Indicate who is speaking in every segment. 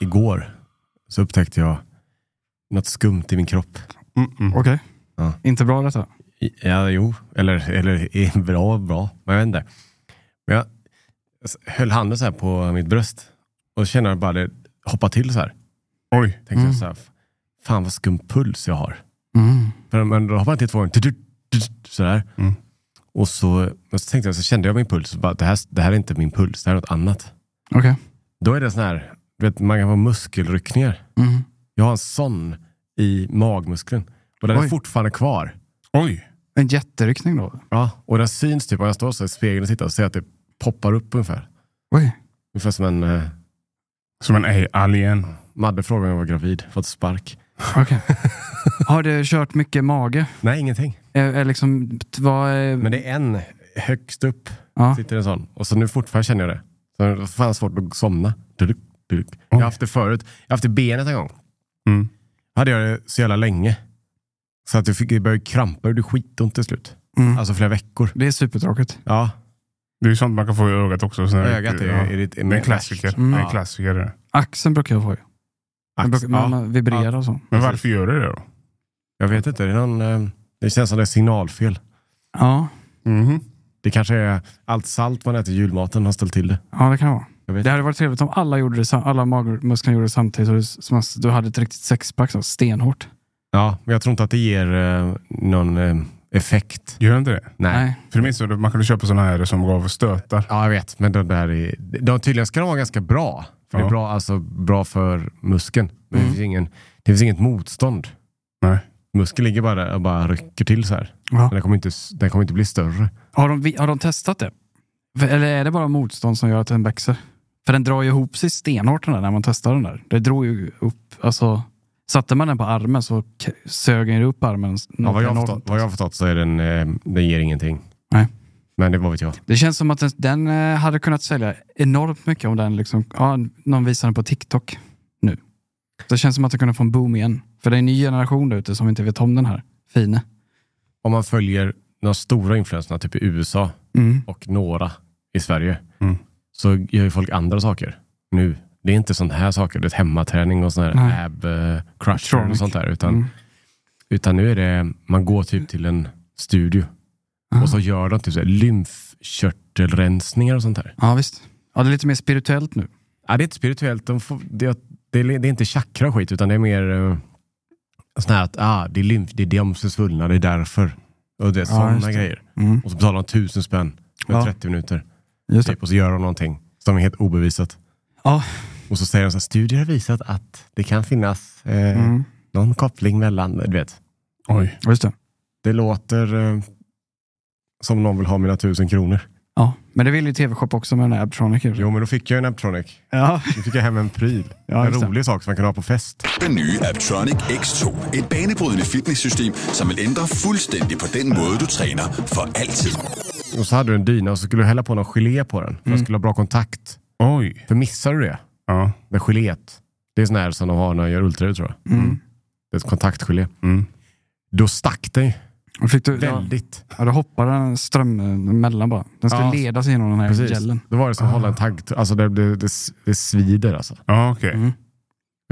Speaker 1: igår så upptäckte jag något skumt i min kropp.
Speaker 2: Mm-mm. Okej.
Speaker 1: Ja.
Speaker 2: Inte bra detta.
Speaker 1: I- Ja, jo, eller, eller i- bra, bra, men jag vet inte. Men jag s- höll handen så här på mitt bröst och kände jag bara det hoppa till så här. Oj. Tänkte
Speaker 2: Mm.
Speaker 1: jag så här, f- fan vad skum puls jag har.
Speaker 2: Mm.
Speaker 1: För, men då hoppade jag till två gånger, tut, tut, tut, sådär.
Speaker 3: Mm.
Speaker 1: Och så, men så tänkte jag, så kände jag min puls, bara, det, här, det här är inte min puls, det här är något annat.
Speaker 2: Okej.
Speaker 1: Då är det sån här, du vet, man kan få muskelryckningar.
Speaker 2: Mm.
Speaker 1: Jag har en sån i magmuskeln. Och den är
Speaker 2: Oj.
Speaker 1: fortfarande kvar.
Speaker 3: Oj.
Speaker 2: En jätteryckning då?
Speaker 1: Ja, och den syns typ om jag står så i spegeln och tittar och ser att det poppar upp ungefär.
Speaker 2: Oj.
Speaker 1: Ungefär som en... Eh,
Speaker 3: Som en ej- alien.
Speaker 1: Madde frågade om jag var gravid, fått spark.
Speaker 2: Okej. Har du kört mycket mage?
Speaker 1: Nej, ingenting.
Speaker 2: Är, är liksom, t- vad är...
Speaker 1: Men det är en högst upp,
Speaker 2: ja.
Speaker 1: sitter en sån. Och så nu fortfarande känner jag det. Så det var fan svårt att somna. Duduk, duduk. Jag har haft det förut. Jag har haft det i benet en gång.
Speaker 3: Mm.
Speaker 1: hade jag det så jävla länge. Så att jag fick, det började krampa och det skitont till slut.
Speaker 2: Mm.
Speaker 1: Alltså flera veckor.
Speaker 2: det är supertråkigt.
Speaker 1: Ja,
Speaker 3: Det är ju sånt man kan få i ögat också. Sån här-
Speaker 1: ögat är,
Speaker 3: ja.
Speaker 1: är, det,
Speaker 3: Det är en klassiker.
Speaker 2: Mm.
Speaker 3: Det är
Speaker 1: Ja.
Speaker 3: en klassiker. det.
Speaker 2: Axeln brukar jag få ju. Den
Speaker 1: Ax,
Speaker 2: brukar,
Speaker 1: ja.
Speaker 2: Man vibrerar och så.
Speaker 3: Men varför gör det det då?
Speaker 1: Jag vet inte, det, är någon, eh, det känns som det är signalfel.
Speaker 2: Ja.
Speaker 3: Mhm.
Speaker 1: Det kanske är allt salt man äter i julmaten har ställt till det.
Speaker 2: ja, det kan det vara.
Speaker 1: Jag vet.
Speaker 2: Det hade varit trevligt om alla, gjorde det, sam- alla magmusklerna gjorde det samtidigt. Och du, som att du hade ett riktigt sexpack så stenhårt.
Speaker 1: Ja, men jag tror inte att det ger eh, någon eh, effekt.
Speaker 3: Gör det inte det?
Speaker 1: Nej.
Speaker 3: För det minns jag, man kunde köpa såna här som gav stötar.
Speaker 1: Ja, jag vet. Men de där är, de tydligen ska de vara ganska bra. För Det är
Speaker 3: Ja.
Speaker 1: bra, alltså, bra för muskeln. Men det, finns ingen, det finns inget motstånd.
Speaker 3: Nej.
Speaker 1: Muskeln ligger bara där och bara rycker till så här.
Speaker 2: Ja.
Speaker 1: Men den kommer, inte, den kommer inte bli större.
Speaker 2: Har de, vi- har de testat det? För- Eller är det bara motstånd som gör att den växer? För den drar ju ihop sig stenhårt den där när man testar den där. Det drog ju upp, alltså. Satte man den på armen så k- sög den ju upp armen.
Speaker 1: Ja, vad, jag har
Speaker 2: enormt. alltså.
Speaker 1: förstått, vad jag har förstått så är den, eh, den ger ingenting.
Speaker 2: Nej.
Speaker 1: Men det var vet jag.
Speaker 2: Det känns som att den, den eh, hade kunnat sälja enormt mycket om den liksom, ja, någon visar den på TikTok nu. Det känns som att den kunde få en boom igen. För det är en ny generation där ute som inte vet om den här fine.
Speaker 1: Om man följer de stora influenserna, typ i USA och några i Sverige,
Speaker 3: Mm.
Speaker 1: så gör ju folk andra saker nu. Det är inte sånt här saker, det är hemmaträning och sån
Speaker 2: Nej.
Speaker 1: här ab eh, crusher
Speaker 2: Tronic.
Speaker 1: och sånt där. Utan,
Speaker 2: Mm.
Speaker 1: utan nu är det, man går typ till en studio
Speaker 2: Ah.
Speaker 1: och så gör de typ så här lymfkörtelrensningar och sånt där.
Speaker 2: Ja, visst. Ja, det är lite mer spirituellt nu.
Speaker 1: Ja, det är inte spirituellt. De får, det, det, det är inte chakra och skit, utan det är mer eh, sån här att ah, det är lymf, det är de som är svullna, det är därför. Och det är
Speaker 2: Ja, just
Speaker 1: sådana
Speaker 2: det.
Speaker 1: grejer.
Speaker 2: Mm.
Speaker 1: Och så betalar de tusen spänn med
Speaker 2: Ja.
Speaker 1: 30 minuter.
Speaker 2: Just det.
Speaker 1: Typ, och så gör de någonting som är helt obevisat.
Speaker 2: Ja.
Speaker 1: Och så säger de så här, studier har visat att det kan finnas eh,
Speaker 2: Mm.
Speaker 1: någon koppling mellan, du vet.
Speaker 3: Oj.
Speaker 2: Ja, Just det.
Speaker 1: Det låter eh, som någon vill ha mina tusen kronor.
Speaker 2: Ja, men det vill ju TV-shop också med den här Abtronic. ju.
Speaker 1: Jo, men då fick jag en Aptronic.
Speaker 2: Ja.
Speaker 1: Nu fick jag hem en pryl.
Speaker 2: Ja,
Speaker 1: en
Speaker 2: just det.
Speaker 1: rolig sak som man kan ha på fest.
Speaker 4: Den nye Aptronic X2. Et banebrydende fitnesssystem, som vil ændre fuldstændig på den måde, du træner for altid.
Speaker 1: Och så hade du en dyna och så skulle du hälla på någon gelé på den. För
Speaker 2: Mm.
Speaker 1: att den skulle ha bra kontakt.
Speaker 3: Oj.
Speaker 1: För missar du det
Speaker 3: Ja.
Speaker 1: med geléet. Det är sån här som de har när de gör ultraljud tror jag.
Speaker 2: Mm.
Speaker 1: Det är ett kontaktgelé.
Speaker 3: Mm.
Speaker 1: Då stack den ju
Speaker 2: Och Fick du, ja,
Speaker 1: väldigt.
Speaker 2: då hoppade den strömmen emellan bara. Den ska
Speaker 1: Ja.
Speaker 2: leda sig genom den här
Speaker 1: Precis.
Speaker 2: gelen.
Speaker 1: Då var det som att hålla en tagg. Alltså det, det, det, det svider alltså.
Speaker 3: Ja, okej.
Speaker 2: Mm.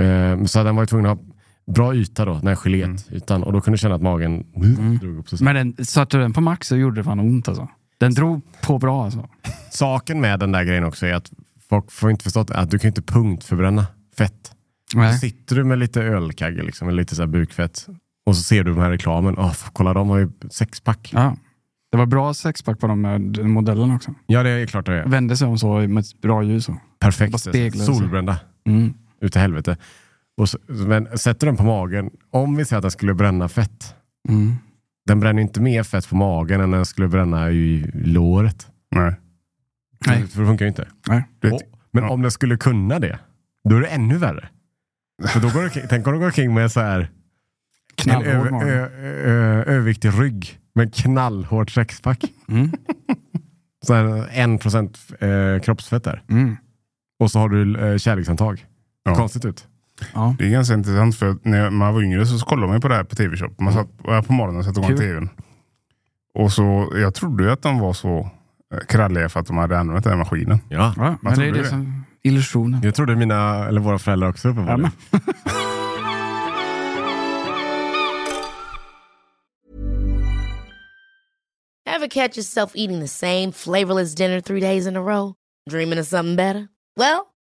Speaker 1: Eh, så den var ju tvungen att ha bra yta då, den här gelétytan. Och då kunde du känna att magen drog upp sig.
Speaker 2: Mm. Men den, satte du den på max så gjorde det fan ont alltså. Den drog på bra alltså.
Speaker 1: Saken med den där grejen också är att folk får inte förstått att du kan ju inte punktförbränna fett. Så
Speaker 2: Nej.
Speaker 1: sitter du med lite ölkagge, liksom, eller lite så här bukfett, och så ser du den här reklamen. Åh, f- kolla, de har ju sexpack. Ja,
Speaker 2: Ja. Det var bra sexpack på de här d- modellerna också.
Speaker 1: det är klart det är.
Speaker 2: Vände sig om så med ett bra ljus. Och.
Speaker 1: Perfekt.
Speaker 2: Bara speglar sig.
Speaker 1: Solbrända.
Speaker 2: Mm.
Speaker 1: Ut i helvete. Och så, men sätter den på magen, om vi säger att den skulle bränna fett,
Speaker 2: Mm.
Speaker 1: den bränner ju inte mer fett på magen än den skulle bränna i låret.
Speaker 3: Nej.
Speaker 2: Nej.
Speaker 1: För det funkar ju inte.
Speaker 2: Nej.
Speaker 3: Du
Speaker 1: Och,
Speaker 3: vet,
Speaker 1: men
Speaker 3: ja.
Speaker 1: om den skulle kunna det, då är det ännu värre. För då går du, tänk om du går omkring med så här, en
Speaker 2: Knallhård
Speaker 1: över,
Speaker 2: mage.
Speaker 1: ö, ö, överviktig rygg med knallhårt sexpack.
Speaker 2: Mm.
Speaker 1: Så här, en procent eh, kroppsfett där.
Speaker 2: Mm.
Speaker 1: Och så har du eh, kärlekshandtag.
Speaker 3: Ja.
Speaker 1: Konstigt ut.
Speaker 2: Ja.
Speaker 3: det är ganska intressant för att när man var yngre så kollade man ju på det här på tv-shop. Man satt ja, på morgonen och satte igång
Speaker 2: Kul.
Speaker 3: tvn. Och så, jag trodde ju att de var så eh, kralliga för att de hade använt den här maskinen.
Speaker 1: Ja.
Speaker 2: Ja, men det
Speaker 3: trodde
Speaker 2: är det
Speaker 3: du?
Speaker 2: som, Illusionen.
Speaker 1: Jag trodde mina, eller våra föräldrar också uppenbarligen.
Speaker 2: Ja,
Speaker 5: Ever catch yourself eating the same flavorless dinner three days in a row? Dreaming of something better? Well,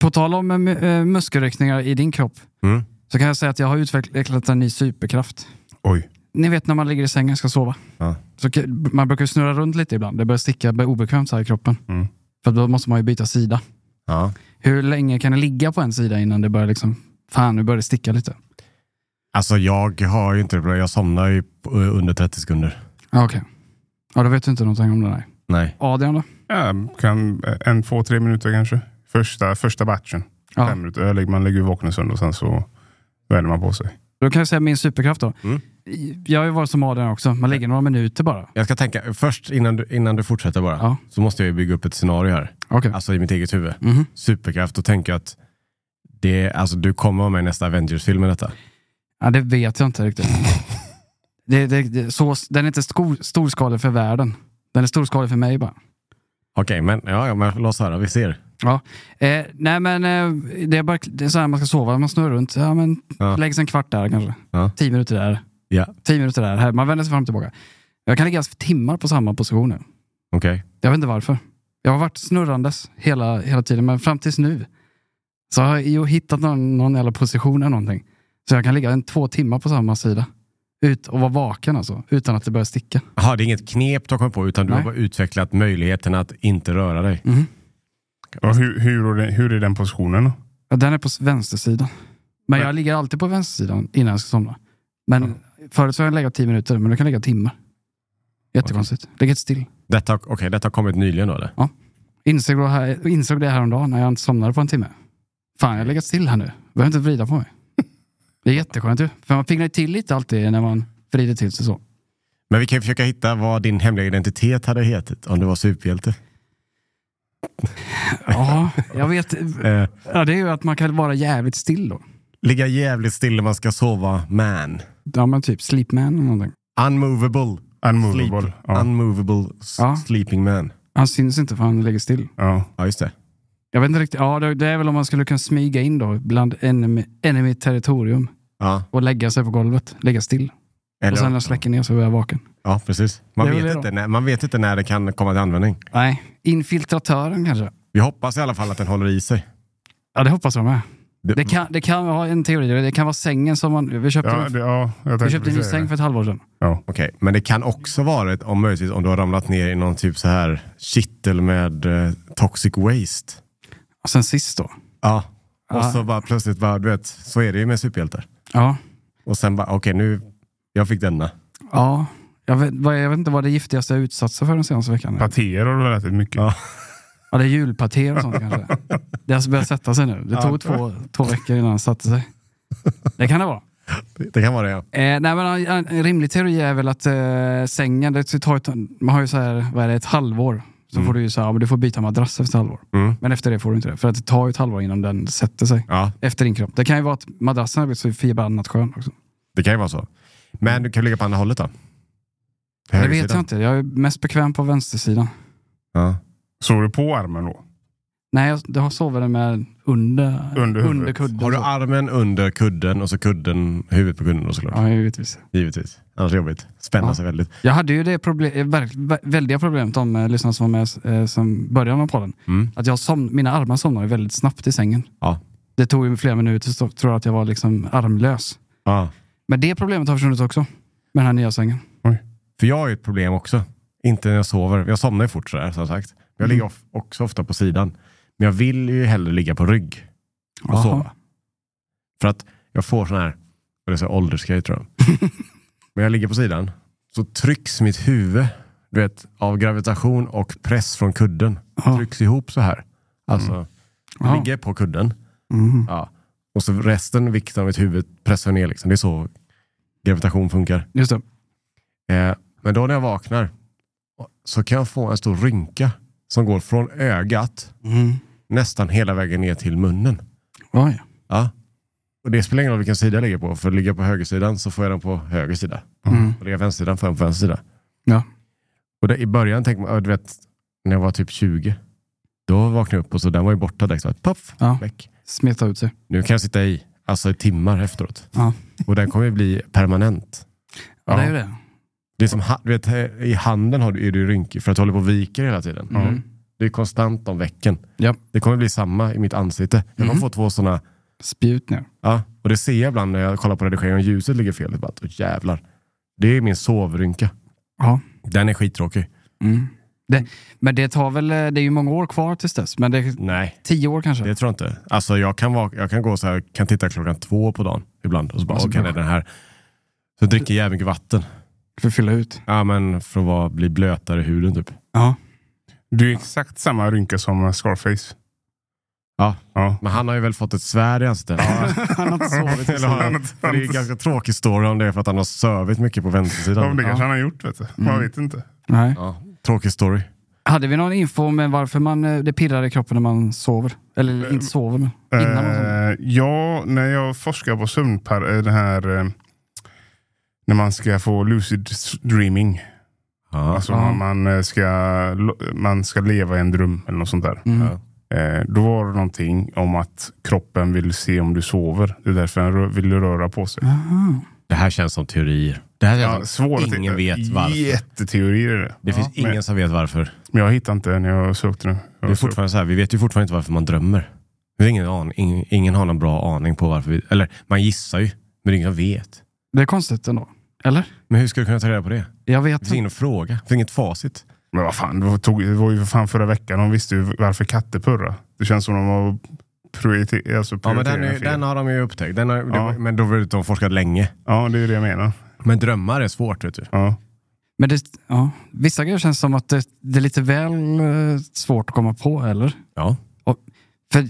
Speaker 2: På tal om eh, eh, muskelryckningar i din kropp
Speaker 1: Mm.
Speaker 2: så kan jag säga att jag har utvecklat en ny superkraft.
Speaker 3: Oj.
Speaker 2: Ni vet när man ligger i sängen och ska sova.
Speaker 1: Ja.
Speaker 2: Så, k- man brukar ju snurra runt lite ibland. Det börjar sticka obekvämt så här i kroppen.
Speaker 3: Mm.
Speaker 2: För då måste man ju byta sida.
Speaker 1: Ja.
Speaker 2: Hur länge kan det ligga på en sida innan det börjar liksom, fan nu börjar det sticka lite?
Speaker 1: Alltså jag har ju inte det bra. Jag somnar ju på- eh, under 30 sekunder.
Speaker 2: Ja, okej. Ja, då vet du inte någonting om det där.
Speaker 1: Nej.
Speaker 2: Adrian då?
Speaker 3: Ja, kan eh, en, två, tre minuter kanske. Första, första batchen.
Speaker 2: Ja.
Speaker 3: Fem minuter. Jag lägger- Man lägger ju vaken en stund och sen så värmer man på sig.
Speaker 2: Då kan jag säga min superkraft då.
Speaker 1: Mm.
Speaker 2: Jag har ju varit som Adrian också. Man ligger några minuter bara.
Speaker 1: Jag ska tänka, först innan du, innan du fortsätter bara,
Speaker 2: Ja.
Speaker 1: så måste jag ju bygga upp ett scenario här.
Speaker 2: Okej.
Speaker 1: Alltså i mitt eget huvud.
Speaker 2: Mhm.
Speaker 1: Superkraft och tänka att det, alltså, du kommer vara med i nästa Avengers-film med detta.
Speaker 2: Ja, det vet jag inte riktigt. det, det, det, så, den är inte sko, storskalig för världen. Den är storskalig för mig bara.
Speaker 1: Okej, men ja, ja, men låt oss höra. Vi ser.
Speaker 2: Ja. Eh, nej men eh, det är, bara, det är så här man ska sova, man snurrar runt. Ja, men,
Speaker 1: Ja.
Speaker 2: Lägg sig en kvart där kanske.
Speaker 1: Ja.
Speaker 2: Tio minuter där.
Speaker 1: Ja,
Speaker 2: Tio minuter där. Här, man vänder sig fram och tillbaka. Jag kan ligga timmar på samma position nu.
Speaker 1: okej.
Speaker 2: Jag vet inte varför. Jag har varit snurrandes hela, hela tiden, men fram tills nu så har jag ju hittat någon, någon jävla position eller någonting. Så jag kan ligga en två timmar på samma sida. Ut och vara vaken alltså, utan att det börjar sticka.
Speaker 1: Jaha, det är inget knep du har kommit på, utan du
Speaker 2: Nej. Mm.
Speaker 1: har bara utvecklat möjligheten att inte röra dig.
Speaker 3: Och hur, hur, är det- hur är den positionen då?
Speaker 2: Ja, Den är på s- vänstersidan. Men jag ligger alltid på vänstersidan innan jag ska somna. Men förut så har jag legat tio minuter, men nu kan jag lägga timmar. Jättekonstigt. Ligger helt still.
Speaker 1: Detta, har- okej, detta har kommit nyligen då, eller?
Speaker 2: Insåg, då här, insåg det häromdagen när jag inte somnade på en timme. Fan, jag har legat still här nu. Behöver inte vrida på mig. Det är jätteskönt ju. För man piggnar ju till lite alltid när man vrider till sig så.
Speaker 1: Men vi kan ju försöka hitta vad din hemliga identitet hade hetat om du var superhjälte.
Speaker 2: Ja, jag vet.
Speaker 1: Eh,
Speaker 2: Ja, det är ju att man kan vara jävligt still då.
Speaker 1: ligga jävligt still när man ska sova, man.
Speaker 2: Ja, men typ sleepman eller någonting.
Speaker 1: Unmovable.
Speaker 3: Unmovable.
Speaker 1: Sleep.
Speaker 3: Ja.
Speaker 1: Unmovable s-
Speaker 2: Ja.
Speaker 1: sleeping man.
Speaker 2: Han syns inte för han ligger still.
Speaker 3: Ja.
Speaker 1: Ja, just det.
Speaker 2: Jag vet inte riktigt. Ja, det, det är väl om man skulle kunna smyga in då bland enemy, enemy territorium
Speaker 1: Ja.
Speaker 2: och lägga sig på golvet, ligga still.
Speaker 1: Eller,
Speaker 2: och sen när jag släcker ner så är jag vaken.
Speaker 1: ja, precis. Man
Speaker 2: Det är väl
Speaker 1: vet,
Speaker 2: det
Speaker 1: inte när, man vet inte när det kan komma till användning.
Speaker 2: Nej, infiltratören kanske.
Speaker 1: Vi hoppas i alla fall att den håller i sig.
Speaker 2: Ja, det hoppas jag med.
Speaker 1: Det-
Speaker 2: Det kan, det kan vara en teori. Det kan vara sängen som man... Vi köpte,
Speaker 3: Ja, det, ja, jag
Speaker 2: vi
Speaker 3: tänkte
Speaker 2: köpte en ny
Speaker 3: precis säga
Speaker 2: säng
Speaker 3: det.
Speaker 2: för ett halvår sedan.
Speaker 3: Ja.
Speaker 1: Okej, men det kan också vara ett, om möjligtvis om du har ramlat ner i någon typ så här kittel med eh, toxic waste.
Speaker 2: Och sen sist då.
Speaker 1: Ja, och
Speaker 2: Ja.
Speaker 1: så bara plötsligt bara, du vet, så är det ju med superhjältar.
Speaker 2: Ja.
Speaker 1: Och sen bara, okej nu, jag fick denna.
Speaker 2: ja. Jag, vet, vad- jag vet inte vad det giftigaste jag utsatts för den senaste veckan. är.
Speaker 3: Patéer har du väl ätit mycket?
Speaker 1: Ja.
Speaker 2: Ja, det är julpaté och sånt kanske. Det har alltså börjat sätta sig nu. Det tog två, två veckor innan det satte sig. Det kan det vara.
Speaker 1: Det kan vara det ja.
Speaker 2: Eh, nej, men en, en rimlig teori är väl att eh, sängen, det tar ett, man har ju så här, vad är det, ett halvår. Så får du ju så här, ja, men du får byta madrass efter ett halvår.
Speaker 1: Mm.
Speaker 2: Men efter det får du inte det. För att det tar ju ett halvår innan den sätter sig.
Speaker 1: Ja,
Speaker 2: Efter din kropp. Det kan ju vara att madrassen har blivit så förbannat skön också.
Speaker 1: det kan ju vara så. Men du kan ju ligga på andra hållet då?
Speaker 2: Det vet
Speaker 1: Högersidan.
Speaker 2: jag inte. Jag är mest bekväm på vänstersidan.
Speaker 1: Ja.
Speaker 3: Såg du på armen då?
Speaker 2: Nej, jag, jag sover den med under,
Speaker 3: Under huvudet.
Speaker 2: kudden.
Speaker 1: Har du
Speaker 2: så.
Speaker 1: armen under kudden och så kudden, huvudet på kudden då såklart?
Speaker 2: Ja, givetvis.
Speaker 1: Givetvis. Annars är det jobbigt. Spänna
Speaker 2: Ja.
Speaker 1: sig väldigt.
Speaker 2: Jag hade ju det proble- eh, verk- vä- väldiga problemet, de eh, lyssnare som var med eh, som början av podden.
Speaker 1: Mm.
Speaker 2: Att jag som, mina armar somnar ju väldigt snabbt i sängen.
Speaker 1: Ja.
Speaker 2: Det tog ju flera minuter så tror jag att jag var liksom armlös.
Speaker 1: Ja.
Speaker 2: Men det problemet har försvunnit också. Med den här nya sängen.
Speaker 1: För jag har ju ett problem också. Inte när jag sover. Jag somnar ju fort sådär som sagt. Jag ligger
Speaker 2: Mm.
Speaker 1: of- också ofta på sidan. Men jag vill ju hellre ligga på rygg och
Speaker 2: Jaha.
Speaker 1: sova. För att jag får sån här, vad det är så här åldersgrej tror jag. Men jag ligger på sidan. Så trycks mitt huvud, du vet, av gravitation och press från kudden.
Speaker 2: Ja. Mm.
Speaker 1: Trycks ihop så här. Alltså, jag
Speaker 2: Ja.
Speaker 1: ligger på kudden.
Speaker 2: Mhm.
Speaker 1: Ja. Och så resten, vikten av mitt huvud pressar ner liksom. Det är så gravitation funkar.
Speaker 2: Just det.
Speaker 1: Eh, men då när jag vaknar så kan jag få en stor rynka som går från ögat
Speaker 2: Mm.
Speaker 1: nästan hela vägen ner till munnen.
Speaker 2: Oj.
Speaker 1: Ja. Och det spelar ingen roll vilken sida jag ligger på. För ligger jag på högersidan så får jag den på höger sida.
Speaker 2: Mm.
Speaker 1: Och ligger jag på vänstersidan får jag den på vänster sida.
Speaker 2: Ja.
Speaker 1: Och det, i början tänkte man, ja, du vet, när jag var typ 20, då vaknade jag upp och så den var ju borta direkt. Så här, Puff,
Speaker 2: Ja.
Speaker 1: väck.
Speaker 2: Smeta ut sig.
Speaker 1: Nu kan jag sitta i, alltså i timmar efteråt.
Speaker 2: Ja.
Speaker 1: Och den kommer ju bli permanent.
Speaker 2: Ja, det är ju det.
Speaker 1: Det är som, ha- du vet, här i handen har du, är du rynkig för att du håller på och viker hela tiden.
Speaker 2: Mm.
Speaker 1: Det är konstant om veckan.
Speaker 2: Ja.
Speaker 1: Det kommer bli samma i mitt ansikte. Jag kommer
Speaker 2: Mm.
Speaker 1: få två sådana,
Speaker 2: Spjut ner.
Speaker 1: ja, och det ser jag ibland när jag kollar på redigeringen och ljuset ligger fel. Jag Bara, "Åh, jävlar. Det är min sovrynka.
Speaker 2: Ja.
Speaker 1: Den är skittråkig.
Speaker 2: Mm. Det, men det tar väl, eh, det är ju många år kvar tills dess. Men det är
Speaker 1: Nej,
Speaker 2: tio år kanske.
Speaker 1: det tror jag inte. Alltså jag kan, vak- jag kan gå så här, kan titta klockan två på dagen ibland och så bara,
Speaker 2: Alltså,
Speaker 1: okej det är den här. Så jag dricker jävligt mycket vatten.
Speaker 2: För att fylla ut.
Speaker 1: Ja men för att vara, bli blötare i huden typ.
Speaker 2: Ja.
Speaker 3: Du är exakt samma rynka som Scarface.
Speaker 1: Ja,
Speaker 3: Ja.
Speaker 1: men han har ju väl fått ett svärd i ansiktet.
Speaker 2: Han har inte sovit.
Speaker 1: Eller har han, för det är en ganska tråkig story om det är för att han har sövit mycket på
Speaker 3: Ja, men
Speaker 1: vänstersidan.
Speaker 3: det kanske han har gjort. Vet du. Man vet inte.
Speaker 2: Nej.
Speaker 1: Ja, tråkig story.
Speaker 2: Hade vi någon info om varför man, eh, det pirrar i kroppen när man sover? Eller inte sover, men innan man sover?
Speaker 3: Eh, ja, när jag forskar på sömnpar... eh, Den här, eh, när man ska få lucid dreaming.
Speaker 1: Ja.
Speaker 3: Alltså
Speaker 2: Ja.
Speaker 3: man, eh, ska, lo- man ska leva i en dröm eller något sånt där.
Speaker 2: Mm.
Speaker 1: Ja.
Speaker 3: Eh, då var det någonting om att kroppen vill se om du sover. Det är därför den rö- vill röra på sig.
Speaker 2: Aha.
Speaker 1: Det här känns som teorier. Det här känns
Speaker 3: Ja, svårt
Speaker 1: som ingen vet varför.
Speaker 3: Jätteteorier är det.
Speaker 1: Det finns
Speaker 3: men-
Speaker 1: ingen som vet varför.
Speaker 3: Men jag hittar inte när jag sökte nu. Jag
Speaker 1: Det är
Speaker 3: sökte.
Speaker 1: fortfarande så här, vi vet ju fortfarande inte varför man drömmer. Vi har ingen, aning, ingen, ingen har någon bra aning på varför vi... Eller man gissar ju, men det är ingen som vet.
Speaker 2: Det är konstigt ändå. Eller?
Speaker 1: Men hur ska du kunna ta reda på det? Det
Speaker 2: Jag vet
Speaker 1: finns
Speaker 2: inte.
Speaker 1: ingen att fråga. Det finns inget facit.
Speaker 3: Men vad fan, det var, tog, det var ju för fan förra veckan. De visste ju varför katter purrar. Det känns som de har prioriterat alltså
Speaker 1: Ja, men den,
Speaker 3: prioriteringar
Speaker 1: är,
Speaker 3: fel.
Speaker 1: den har de ju upptäckt. Den har,
Speaker 3: Ja.
Speaker 1: Men då har de forskat länge.
Speaker 3: Ja, det är det jag menar.
Speaker 1: Men drömmar är svårt, vet du.
Speaker 3: Ja.
Speaker 2: Men det, ja. Vissa grejer känns som att det, det är lite väl eh, svårt att komma på, eller?
Speaker 1: Ja.
Speaker 2: För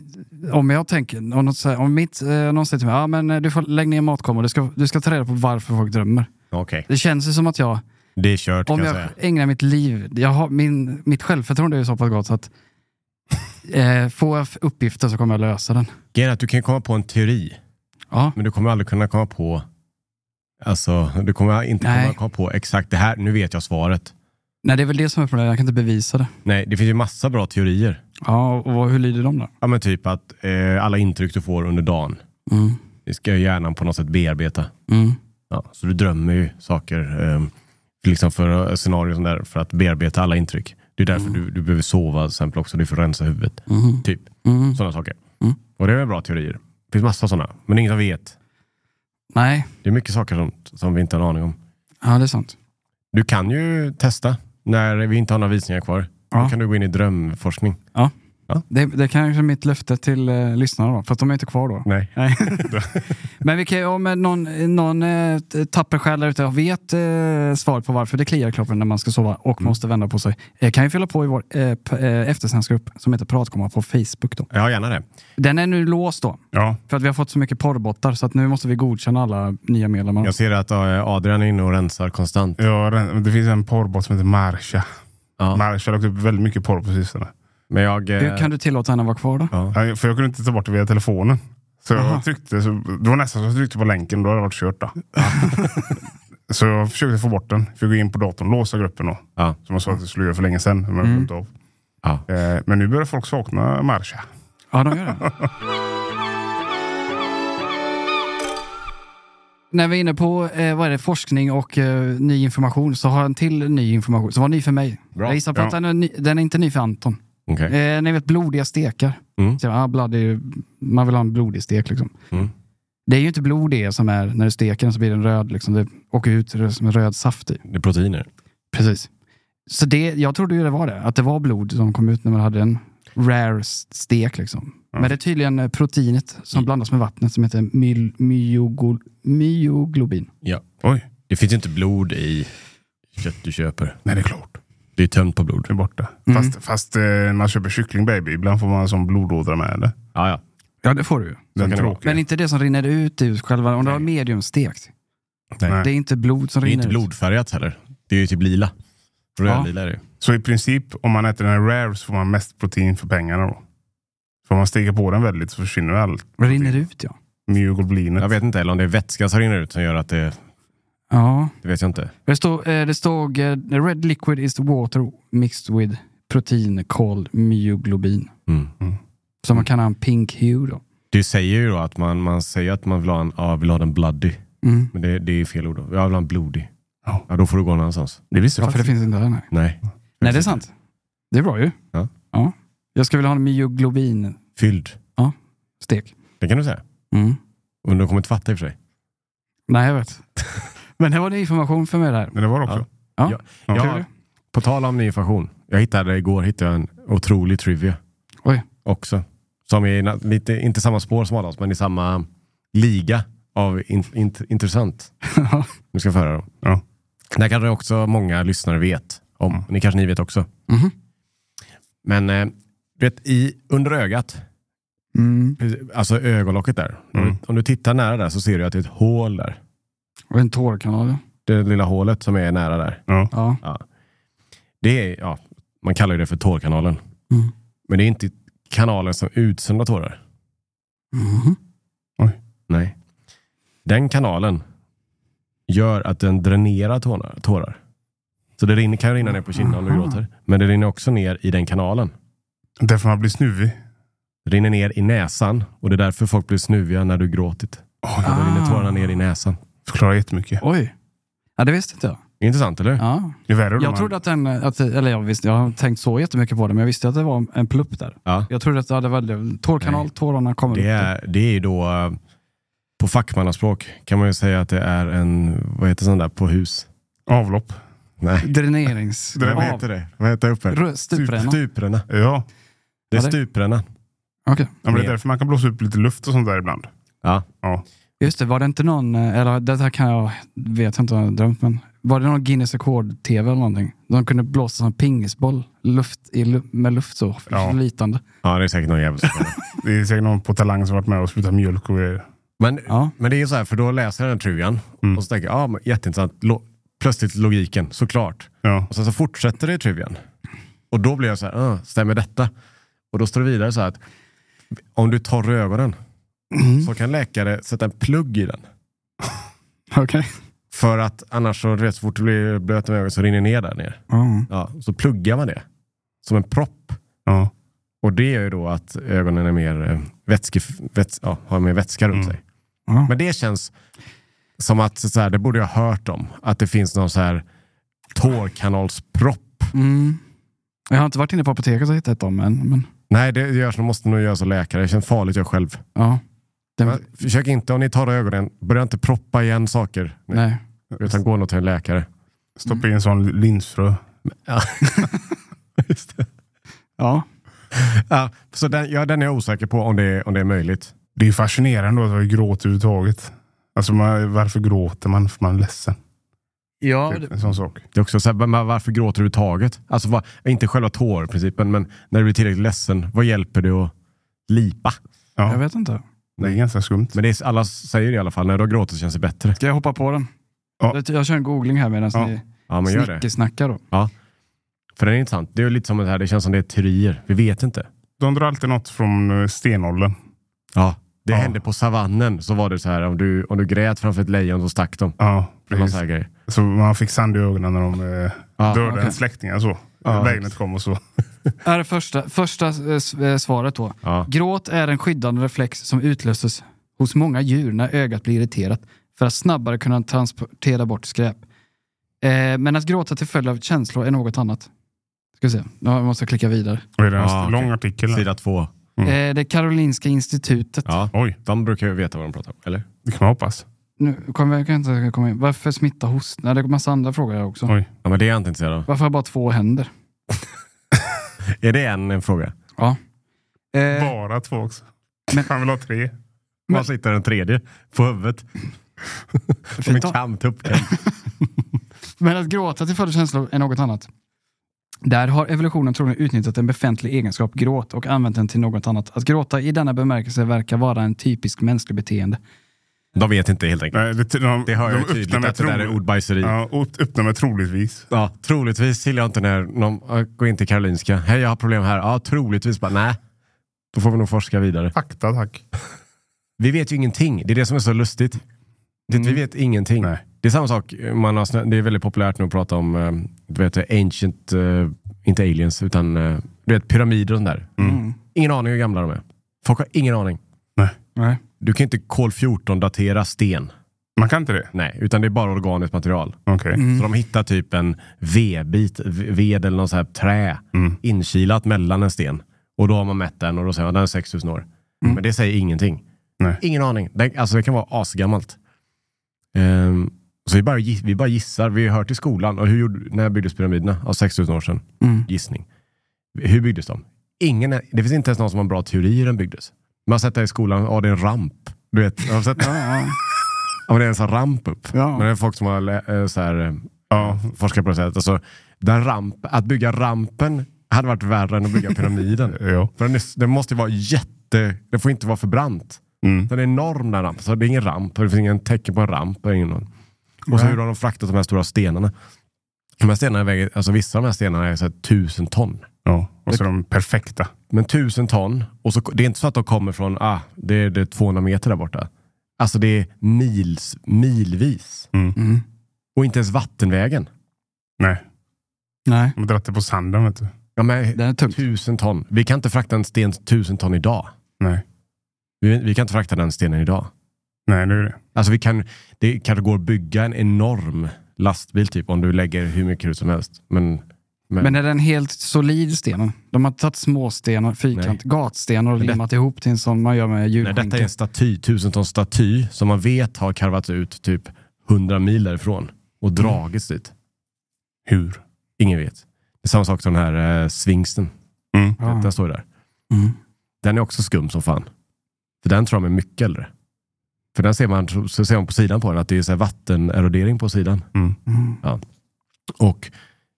Speaker 2: om jag tänker, om, något, så här- om mitt, eh, någon säger till mig, ja men eh, du får lägga ner matkameran, du ska, du ska ta reda på varför folk drömmer.
Speaker 1: Okej.
Speaker 2: Det känns ju som att jag,
Speaker 1: Det är kört
Speaker 2: om
Speaker 1: kan jag
Speaker 2: jag
Speaker 1: säga.
Speaker 2: ägnar mitt liv, jag har, min, mitt självförtroende är ju så pass gott så att eh, får jag uppgifter så kommer jag lösa den.
Speaker 1: Grejen är att du kan komma på en teori.
Speaker 2: Ja,
Speaker 1: Men du kommer aldrig kunna komma på Alltså, du kommer inte
Speaker 2: Nej.
Speaker 1: kunna komma på exakt det här, nu vet jag svaret.
Speaker 2: nej det är väl det som är problemet, jag kan inte bevisa det.
Speaker 1: Nej, det finns ju massa bra teorier.
Speaker 2: Ja, och vad- hur lyder de då?
Speaker 1: Ja, men typ att eh, alla intryck du får under dagen,
Speaker 2: Mm.
Speaker 1: det ska ju hjärnan på något sätt bearbeta.
Speaker 2: Mm.
Speaker 1: Ja, så du drömmer ju saker, eh, liksom för eh, scenarier och sånt där, för att bearbeta alla intryck. Det är därför du, du behöver sova till exempel också, det är för att rensa huvudet.
Speaker 2: Mm.
Speaker 1: Typ,
Speaker 2: Mm.
Speaker 1: sådana saker.
Speaker 2: Mm.
Speaker 1: Och det är väl bra teorier. Det finns massa sådana, men ingen som vet.
Speaker 2: Nej,
Speaker 1: Det är mycket saker som, som vi inte har en aning om.
Speaker 2: ja det är sant.
Speaker 1: Du kan ju testa när vi inte har några visningar kvar. Då
Speaker 2: Ja.
Speaker 1: kan du gå in i drömforskning.
Speaker 2: Det, det är kanske är mitt löfte till eh, lyssnarna då, för att de är inte kvar då.
Speaker 1: Nej.
Speaker 2: Nej. Men vi kan ju, om någon, någon eh, tapper själ där ute vet eh, svar på varför det kliar i kroppen när man ska sova och måste vända på sig, eh, kan ju fylla på i vår eh, p- eh, eftersnacksgrupp som heter Pratkomma på Facebook. Då.
Speaker 1: Ja, gärna det.
Speaker 2: Den är nu låst då,
Speaker 3: ja.
Speaker 2: för att vi har fått så mycket porrbottar så att nu måste vi godkänna alla nya medlemmar.
Speaker 1: Jag ser att eh, Adrian är inne och rensar konstant.
Speaker 3: ja ren- det finns en porrbot som heter Marsha.
Speaker 1: Ja.
Speaker 3: Marsha har lagt upp väldigt mycket porr på sistone.
Speaker 1: Men jag... eh,
Speaker 2: Du, kan du tillåta henne att vara kvar då?
Speaker 1: ja.
Speaker 3: Ja, För jag kunde inte ta bort det via telefonen. Så
Speaker 2: Aha.
Speaker 3: jag tryckte, så, det var nästan så jag tryckte på länken, då hade det varit kört. Då. så jag försökte få bort den. Fick gå in på datorn, låsa gruppen då.
Speaker 1: Ja.
Speaker 3: Som jag sa att jag skulle göra för länge sedan. Men, jag glömde av.
Speaker 1: Ja.
Speaker 3: Eh, men nu börjar folk sakna Marsha.
Speaker 2: Ja, de gör det. När vi är inne på eh, vad är det, forskning och eh, ny information så har jag en till ny information som var ny för mig.
Speaker 1: Bra.
Speaker 2: Jag gissar på
Speaker 3: Ja.
Speaker 2: att den är, ny, den är inte ny för Anton.
Speaker 1: Okej.
Speaker 2: Eh, ni vet blodiga stekar.
Speaker 1: Mm.
Speaker 2: Så, jag bara, ah, blad är ju, man vill ha en blodig stek. Liksom.
Speaker 1: Mm.
Speaker 2: Det är ju inte blod det som är, när du steker den så blir den röd. Liksom. Det åker ut som en röd saft i.
Speaker 1: Det är proteiner.
Speaker 2: Precis. Så det, jag trodde ju det var det, att det var blod som kom ut när man hade en rare stek. Liksom. Men det är tydligen eh, proteinet som blandas med vattnet som heter myl- myogol- myoglobin.
Speaker 1: Ja.
Speaker 3: Oj,
Speaker 1: Det finns ju inte blod i kött du köper.
Speaker 3: nej det är klart.
Speaker 1: Det är ju tömt på blod.
Speaker 3: Det är borta.
Speaker 2: Mm.
Speaker 3: Fast, fast eh, när man köper kyckling baby, ibland får man en sån blodådra med eller?
Speaker 1: Ja, ja.
Speaker 2: Ja, det får du ju.
Speaker 1: kan det
Speaker 3: Den
Speaker 1: vara.
Speaker 3: tråkiga.
Speaker 2: Men inte det som rinner ut ur själva, om du har mediumstekt.
Speaker 1: Nej.
Speaker 3: Nej.
Speaker 2: Det är inte blod som
Speaker 1: Det är ju
Speaker 2: rinner
Speaker 1: inte
Speaker 2: ut.
Speaker 1: blodfärgat heller. Det är ju typ lila. Rödlila är det ju.
Speaker 3: Så i princip, om man äter den rare så får man mest protein för pengarna då. För om man steker på den väldigt så försvinner allt
Speaker 2: Rinner ut ja.
Speaker 3: myoglobinet.
Speaker 1: Jag vet inte, eller om det är vätska som rinner ut som gör att det...
Speaker 2: ja.
Speaker 1: Det vet jag inte.
Speaker 2: Det stod, eh, det stod eh, red liquid is the water mixed with protein called myoglobin.
Speaker 1: Mm.
Speaker 2: Så man kan ha en pink hue då.
Speaker 1: Du säger ju då att man, man säger att man vill ha en, ja, vill ha den bloody.
Speaker 2: Mm.
Speaker 1: Men det, det är fel ord. då. Jag vill ha en blodig.
Speaker 3: Ja.
Speaker 1: Ja, då får du gå någon annanstans. Det visste
Speaker 2: Ja, för det finns inte den här.
Speaker 1: Nej.
Speaker 2: Nej, det är sant. Det är bra ju.
Speaker 1: Ja.
Speaker 2: ja. Jag skulle vilja ha en myoglobinstek.
Speaker 1: Fylld. Det kan du säga.
Speaker 2: Mm.
Speaker 1: Och de kommer inte fatta i och för sig.
Speaker 2: Nej, jag vet. Men det var ny information för mig där.
Speaker 3: Men det var det också.
Speaker 2: Ja.
Speaker 1: Ja.
Speaker 3: Ja.
Speaker 2: Kul.
Speaker 1: På tal om ny information. Jag hittade igår hittade jag en otrolig trivia.
Speaker 2: Oj.
Speaker 1: Också. Som är na- lite, inte samma spår som Adams, men i samma liga av in, int- intressant.
Speaker 2: Ja.
Speaker 1: Nu ska jag föra dem.
Speaker 3: Ja.
Speaker 1: Det här kanske också många lyssnare vet om.
Speaker 3: Mm.
Speaker 1: Ni kanske ni vet också.
Speaker 2: Mhm.
Speaker 1: Men eh, du vet, i, under ögat,
Speaker 2: Mm.
Speaker 1: precis- alltså ögonlocket där. Om du-
Speaker 3: Mm.
Speaker 1: Om du tittar nära där så ser du att det är ett hål där.
Speaker 2: Och en tårkanal. ja.
Speaker 1: Det lilla hålet som är nära där.
Speaker 3: Ja.
Speaker 2: Ja.
Speaker 1: Det är, ja, man kallar ju det för tårkanalen.
Speaker 2: Mm.
Speaker 1: Men det är inte kanalen som utsöndrar tårar.
Speaker 2: Mhm.
Speaker 1: Nej. Den kanalen gör att den dränerar tårar. tårar. Så det rinner, kan rinna ner på kinden om du
Speaker 2: Aha.
Speaker 1: gråter. Men det rinner också ner i den kanalen.
Speaker 3: Därför man blir snuvig.
Speaker 1: Det rinner ner i näsan och det är därför folk blir snuviga när du gråtit.
Speaker 3: Oj,
Speaker 1: Då rinner
Speaker 2: Ah.
Speaker 1: tårarna ner i näsan.
Speaker 3: Förklarar jättemycket.
Speaker 2: Oj. Ja, det visste inte jag.
Speaker 1: Intressant eller?
Speaker 2: Ja.
Speaker 3: Det är värre då
Speaker 2: Jag
Speaker 3: man-
Speaker 2: trodde att den, att, eller jag, visste, jag har inte tänkt så jättemycket på det, men jag visste att det var en plupp där.
Speaker 1: Ja.
Speaker 2: Jag trodde att det hade varit tårkanal,
Speaker 1: Nej.
Speaker 2: tårarna kommer
Speaker 1: Det
Speaker 2: upp.
Speaker 1: är, det är ju då, eh, på fackmannaspråk kan man ju säga att det är en, vad heter sån där på hus?
Speaker 3: Avlopp.
Speaker 1: Nej.
Speaker 2: Dränerings...
Speaker 3: Det där
Speaker 2: av-
Speaker 3: heter
Speaker 1: det? Vad heter uppe?
Speaker 2: Rö- Stupränna.
Speaker 1: Stupränna.
Speaker 3: Ja.
Speaker 1: Det är
Speaker 2: Ja, det-
Speaker 1: stupränna.
Speaker 2: Okej.
Speaker 3: ja men det
Speaker 1: Ner.
Speaker 3: är därför man kan blåsa upp lite luft och sånt där ibland.
Speaker 1: Ja.
Speaker 3: Ja.
Speaker 2: Just det, var det inte någon, eh, eller det här kan jag, vet inte om jag har drömt, men var det någon Guinness rekord-tv eller någonting? De kunde blåsa som pingisboll luft i, lu- med luft så,
Speaker 3: Ja.
Speaker 2: flytande.
Speaker 1: ja, det är säkert någon jävel som kommer.
Speaker 3: Det är säkert någon på Talang som varit med och sprutat mjölk och grejer.
Speaker 1: Men,
Speaker 2: Ja.
Speaker 1: men det är ju så här, för då läser jag den här trivian
Speaker 2: Mm.
Speaker 1: och så tänker jag, ja, men jätteintressant. Lo- plötsligt logiken, såklart.
Speaker 3: Ja.
Speaker 1: Och sen så fortsätter det i trivian. Och då blir jag så här, "Ah, stämmer detta? Och då står det vidare så här att om du torr i ögonen
Speaker 2: Mm.
Speaker 1: så kan läkare sätta en plugg i den.
Speaker 2: Okej.
Speaker 1: För att annars så, du vet, så fort du blir blöt om ögonen så rinner det ner där ner.
Speaker 2: Ja.
Speaker 1: Ja, så pluggar man det som en propp.
Speaker 3: Ja.
Speaker 1: Och det gör ju då att ögonen är mer eh, vätske, väts, ja, har mer vätska runt
Speaker 3: Mm.
Speaker 1: sig. Men det känns som att, så här, det borde jag ha hört om, att det finns någon så här tårkanalspropp.
Speaker 2: Mm. Jag har inte varit inne på apoteket och hittat dem än, men
Speaker 1: Nej, det görs, det måste nog göras av läkare. Det känns farligt jag själv.
Speaker 2: ja. Den,
Speaker 1: Men försök inte, om ni tar ögonen, börja inte proppa igen saker.
Speaker 2: nej.
Speaker 1: Utan gå nog till en läkare.
Speaker 3: Stoppa i en sån linsfrö.
Speaker 2: Ja.
Speaker 1: Ja, så den, ja, den är jag osäker på om det är, om det är möjligt.
Speaker 3: Det är ju fascinerande att vi gråter överhuvudtaget. Alltså man, varför gråter man? För man är ledsen.
Speaker 2: Ja,
Speaker 3: Typ, en sån sak.
Speaker 1: Det är också så här, men varför gråter du överhuvudtaget? Alltså, va, inte själva tårprincipen, men när du blir tillräckligt ledsen, vad hjälper det att lipa?
Speaker 3: Ja.
Speaker 2: jag vet inte.
Speaker 3: Det är ganska skumt.
Speaker 1: Men det är, alla säger det i alla fall, när du har gråtit känns det bättre.
Speaker 2: Ska jag hoppa på den?
Speaker 3: Ja.
Speaker 2: Jag- Jag kör en googling här medan
Speaker 3: Ja.
Speaker 2: ni
Speaker 1: Ja, men gör det.
Speaker 2: snickesnackar. Då.
Speaker 1: För den är intressant. Det är ju lite som det här, det känns som det är teorier. Vi vet inte.
Speaker 3: De drar alltid något från eh, stenåldern.
Speaker 1: Ja. Det
Speaker 3: Ja.
Speaker 1: hände på savannen, så var det så här om du, om du grät framför ett lejon så stack de.
Speaker 3: Ja,
Speaker 1: Eller någon
Speaker 3: precis.
Speaker 1: sån här grej.
Speaker 3: Så man fick sand i ögonen när de eh,
Speaker 1: Ja,
Speaker 3: dödade
Speaker 2: okej.
Speaker 3: en släkting. och Så.
Speaker 1: Ja.
Speaker 3: Regnet kom och så.
Speaker 2: Här är första, första eh, s- eh, svaret då.
Speaker 1: Ja.
Speaker 2: Gråt är en skyddande reflex som utlöses hos många djur när ögat blir irriterat för att snabbare kunna transportera bort skräp. Eh, men att gråta till följd av känslor är något annat. Ska vi se, nu måste jag klicka vidare.
Speaker 3: Och det är en
Speaker 1: Ja, okej.
Speaker 3: lång artikel. här.
Speaker 1: Sida två.
Speaker 2: Eh, det Karolinska institutet.
Speaker 1: Ja,
Speaker 3: Oj,
Speaker 1: de brukar ju veta vad de pratar om, eller?
Speaker 3: det kan man hoppas.
Speaker 2: Nu kommer jag, jag kan inte komma in. Varför smitta host? Nej, det är massa andra frågor här också.
Speaker 3: Oj.
Speaker 1: Ja, men det är jag inte intresserad av.
Speaker 2: Varför har jag bara två händer?
Speaker 1: Är det en, en fråga?
Speaker 2: Ja. Eh,
Speaker 3: Bara två också.
Speaker 2: Men-
Speaker 3: Han vill ha tre.
Speaker 1: Var sitter den tredje? På huvudet? Som en
Speaker 2: ta-
Speaker 1: kamp upp
Speaker 2: men att gråta till följd av känslor är något annat. Där har evolutionen troligen utnyttjat en befintlig egenskap, gråt, och använt den till något annat. Att gråta i denna bemärkelse verkar vara en typisk mänsklig beteende.
Speaker 1: De vet inte helt enkelt.
Speaker 3: Nej, det, de,
Speaker 1: Det hör jag
Speaker 3: de
Speaker 1: ju
Speaker 3: öppnar
Speaker 1: tydligt
Speaker 3: med
Speaker 1: att det där
Speaker 3: tro-
Speaker 1: är ordbajseri. Ja.
Speaker 3: Ja, upp- öppnar med troligtvis.
Speaker 1: troligtvis gillar jag inte när någon ja, går in till Karolinska. Hej, jag har problem här. Ja, troligtvis. Bara, nej. Då får vi nog forska vidare.
Speaker 3: Fakta tack.
Speaker 1: Vi vet ju ingenting. Det är det som är så lustigt. Det, Vi vet ingenting.
Speaker 3: Mm. Nej.
Speaker 1: Det är samma sak. Man har, snö- det är väldigt populärt nu att prata om eh, du vet, ancient, eh, inte aliens, utan eh, du vet, pyramider och sånt där.
Speaker 3: Mm.
Speaker 1: Ingen aning hur gamla de är. Folk har ingen aning.
Speaker 2: Nej.
Speaker 1: Du kan inte kol-14 datera sten.
Speaker 3: Man kan inte det?
Speaker 1: Nej, utan det är bara organiskt material.
Speaker 3: Okej.
Speaker 1: Så de hittar typ en vedbit, v- ved eller någon så här trä inkilat mellan en sten. Och då har man mätt den och då säger man den är 6000 år. Men det säger ingenting.
Speaker 3: Nej.
Speaker 1: Ingen aning. Den, alltså det kan vara asgammalt. Ehm, så vi bara, gi- vi bara gissar. Vi har hört i skolan, och hur gjorde, när byggdes pyramiderna? Ja, 6000 år sedan. Gissning. Hur byggdes de? Ingen, är- det finns inte ens någon som har en bra teori hur den byggdes. Man har sett det i skolan, ja det är en ramp. Du vet, har du sett det? Ja, men det är en sån ramp upp.
Speaker 2: Ja.
Speaker 1: Men det är folk som har lä- eh, så här, eh, forskat på det sättet. Alltså, den ramp, att bygga rampen hade varit värre än att bygga pyramiden.
Speaker 3: Ja.
Speaker 1: För den, är, den måste ju vara jätte... Den får inte vara för brant.
Speaker 3: Mm.
Speaker 1: Den är enorm den rampen. Så det är ingen ramp. och Det finns ingen tecken på en ramp. Och, ingen, och så hur har de fraktat de här stora stenarna? De här stenarna väger, alltså vissa av de här stenarna är så här tusen ton.
Speaker 3: ja. Och så är de perfekta.
Speaker 1: Men tusen ton. Och så, det är inte så att de kommer från, ah, det är, det är 200 meter där borta. Alltså det är mils, milvis.
Speaker 2: Mm.
Speaker 1: Och inte ens vattenvägen.
Speaker 3: Nej,
Speaker 2: Nej.
Speaker 3: de har dragit det på sanden vet du.
Speaker 1: Ja, men,
Speaker 2: Den är tung.
Speaker 1: tusen ton. Vi kan inte frakta en sten tusen ton idag.
Speaker 3: Nej,
Speaker 1: Vi, vi kan inte frakta den stenen idag.
Speaker 3: Nej det är det.
Speaker 1: Alltså vi kan, det kanske går att bygga en enorm lastbil typ om du lägger hur mycket krut som helst. Men, men,
Speaker 2: Men är den helt solid stenen? De har tagit småstenar, fyrkant, gatstenar och
Speaker 1: Men det-
Speaker 2: limmat ihop till en sån man gör med
Speaker 1: nej, detta är
Speaker 2: julskinka.
Speaker 1: en staty, tusen ton staty som man vet har karvats ut typ 100 mil därifrån och dragits dit.
Speaker 3: Hur?
Speaker 1: Ingen vet. Det är samma sak som den här eh, svingsten.
Speaker 3: Mm.
Speaker 1: Du vet, Den står ju där.
Speaker 2: Mm.
Speaker 1: Den är också skum som fan. För den tror de är mycket äldre. För den ser man, så ser man på sidan på den att det är så här vattenerodering på sidan.
Speaker 3: Mm.
Speaker 1: Ja. Och,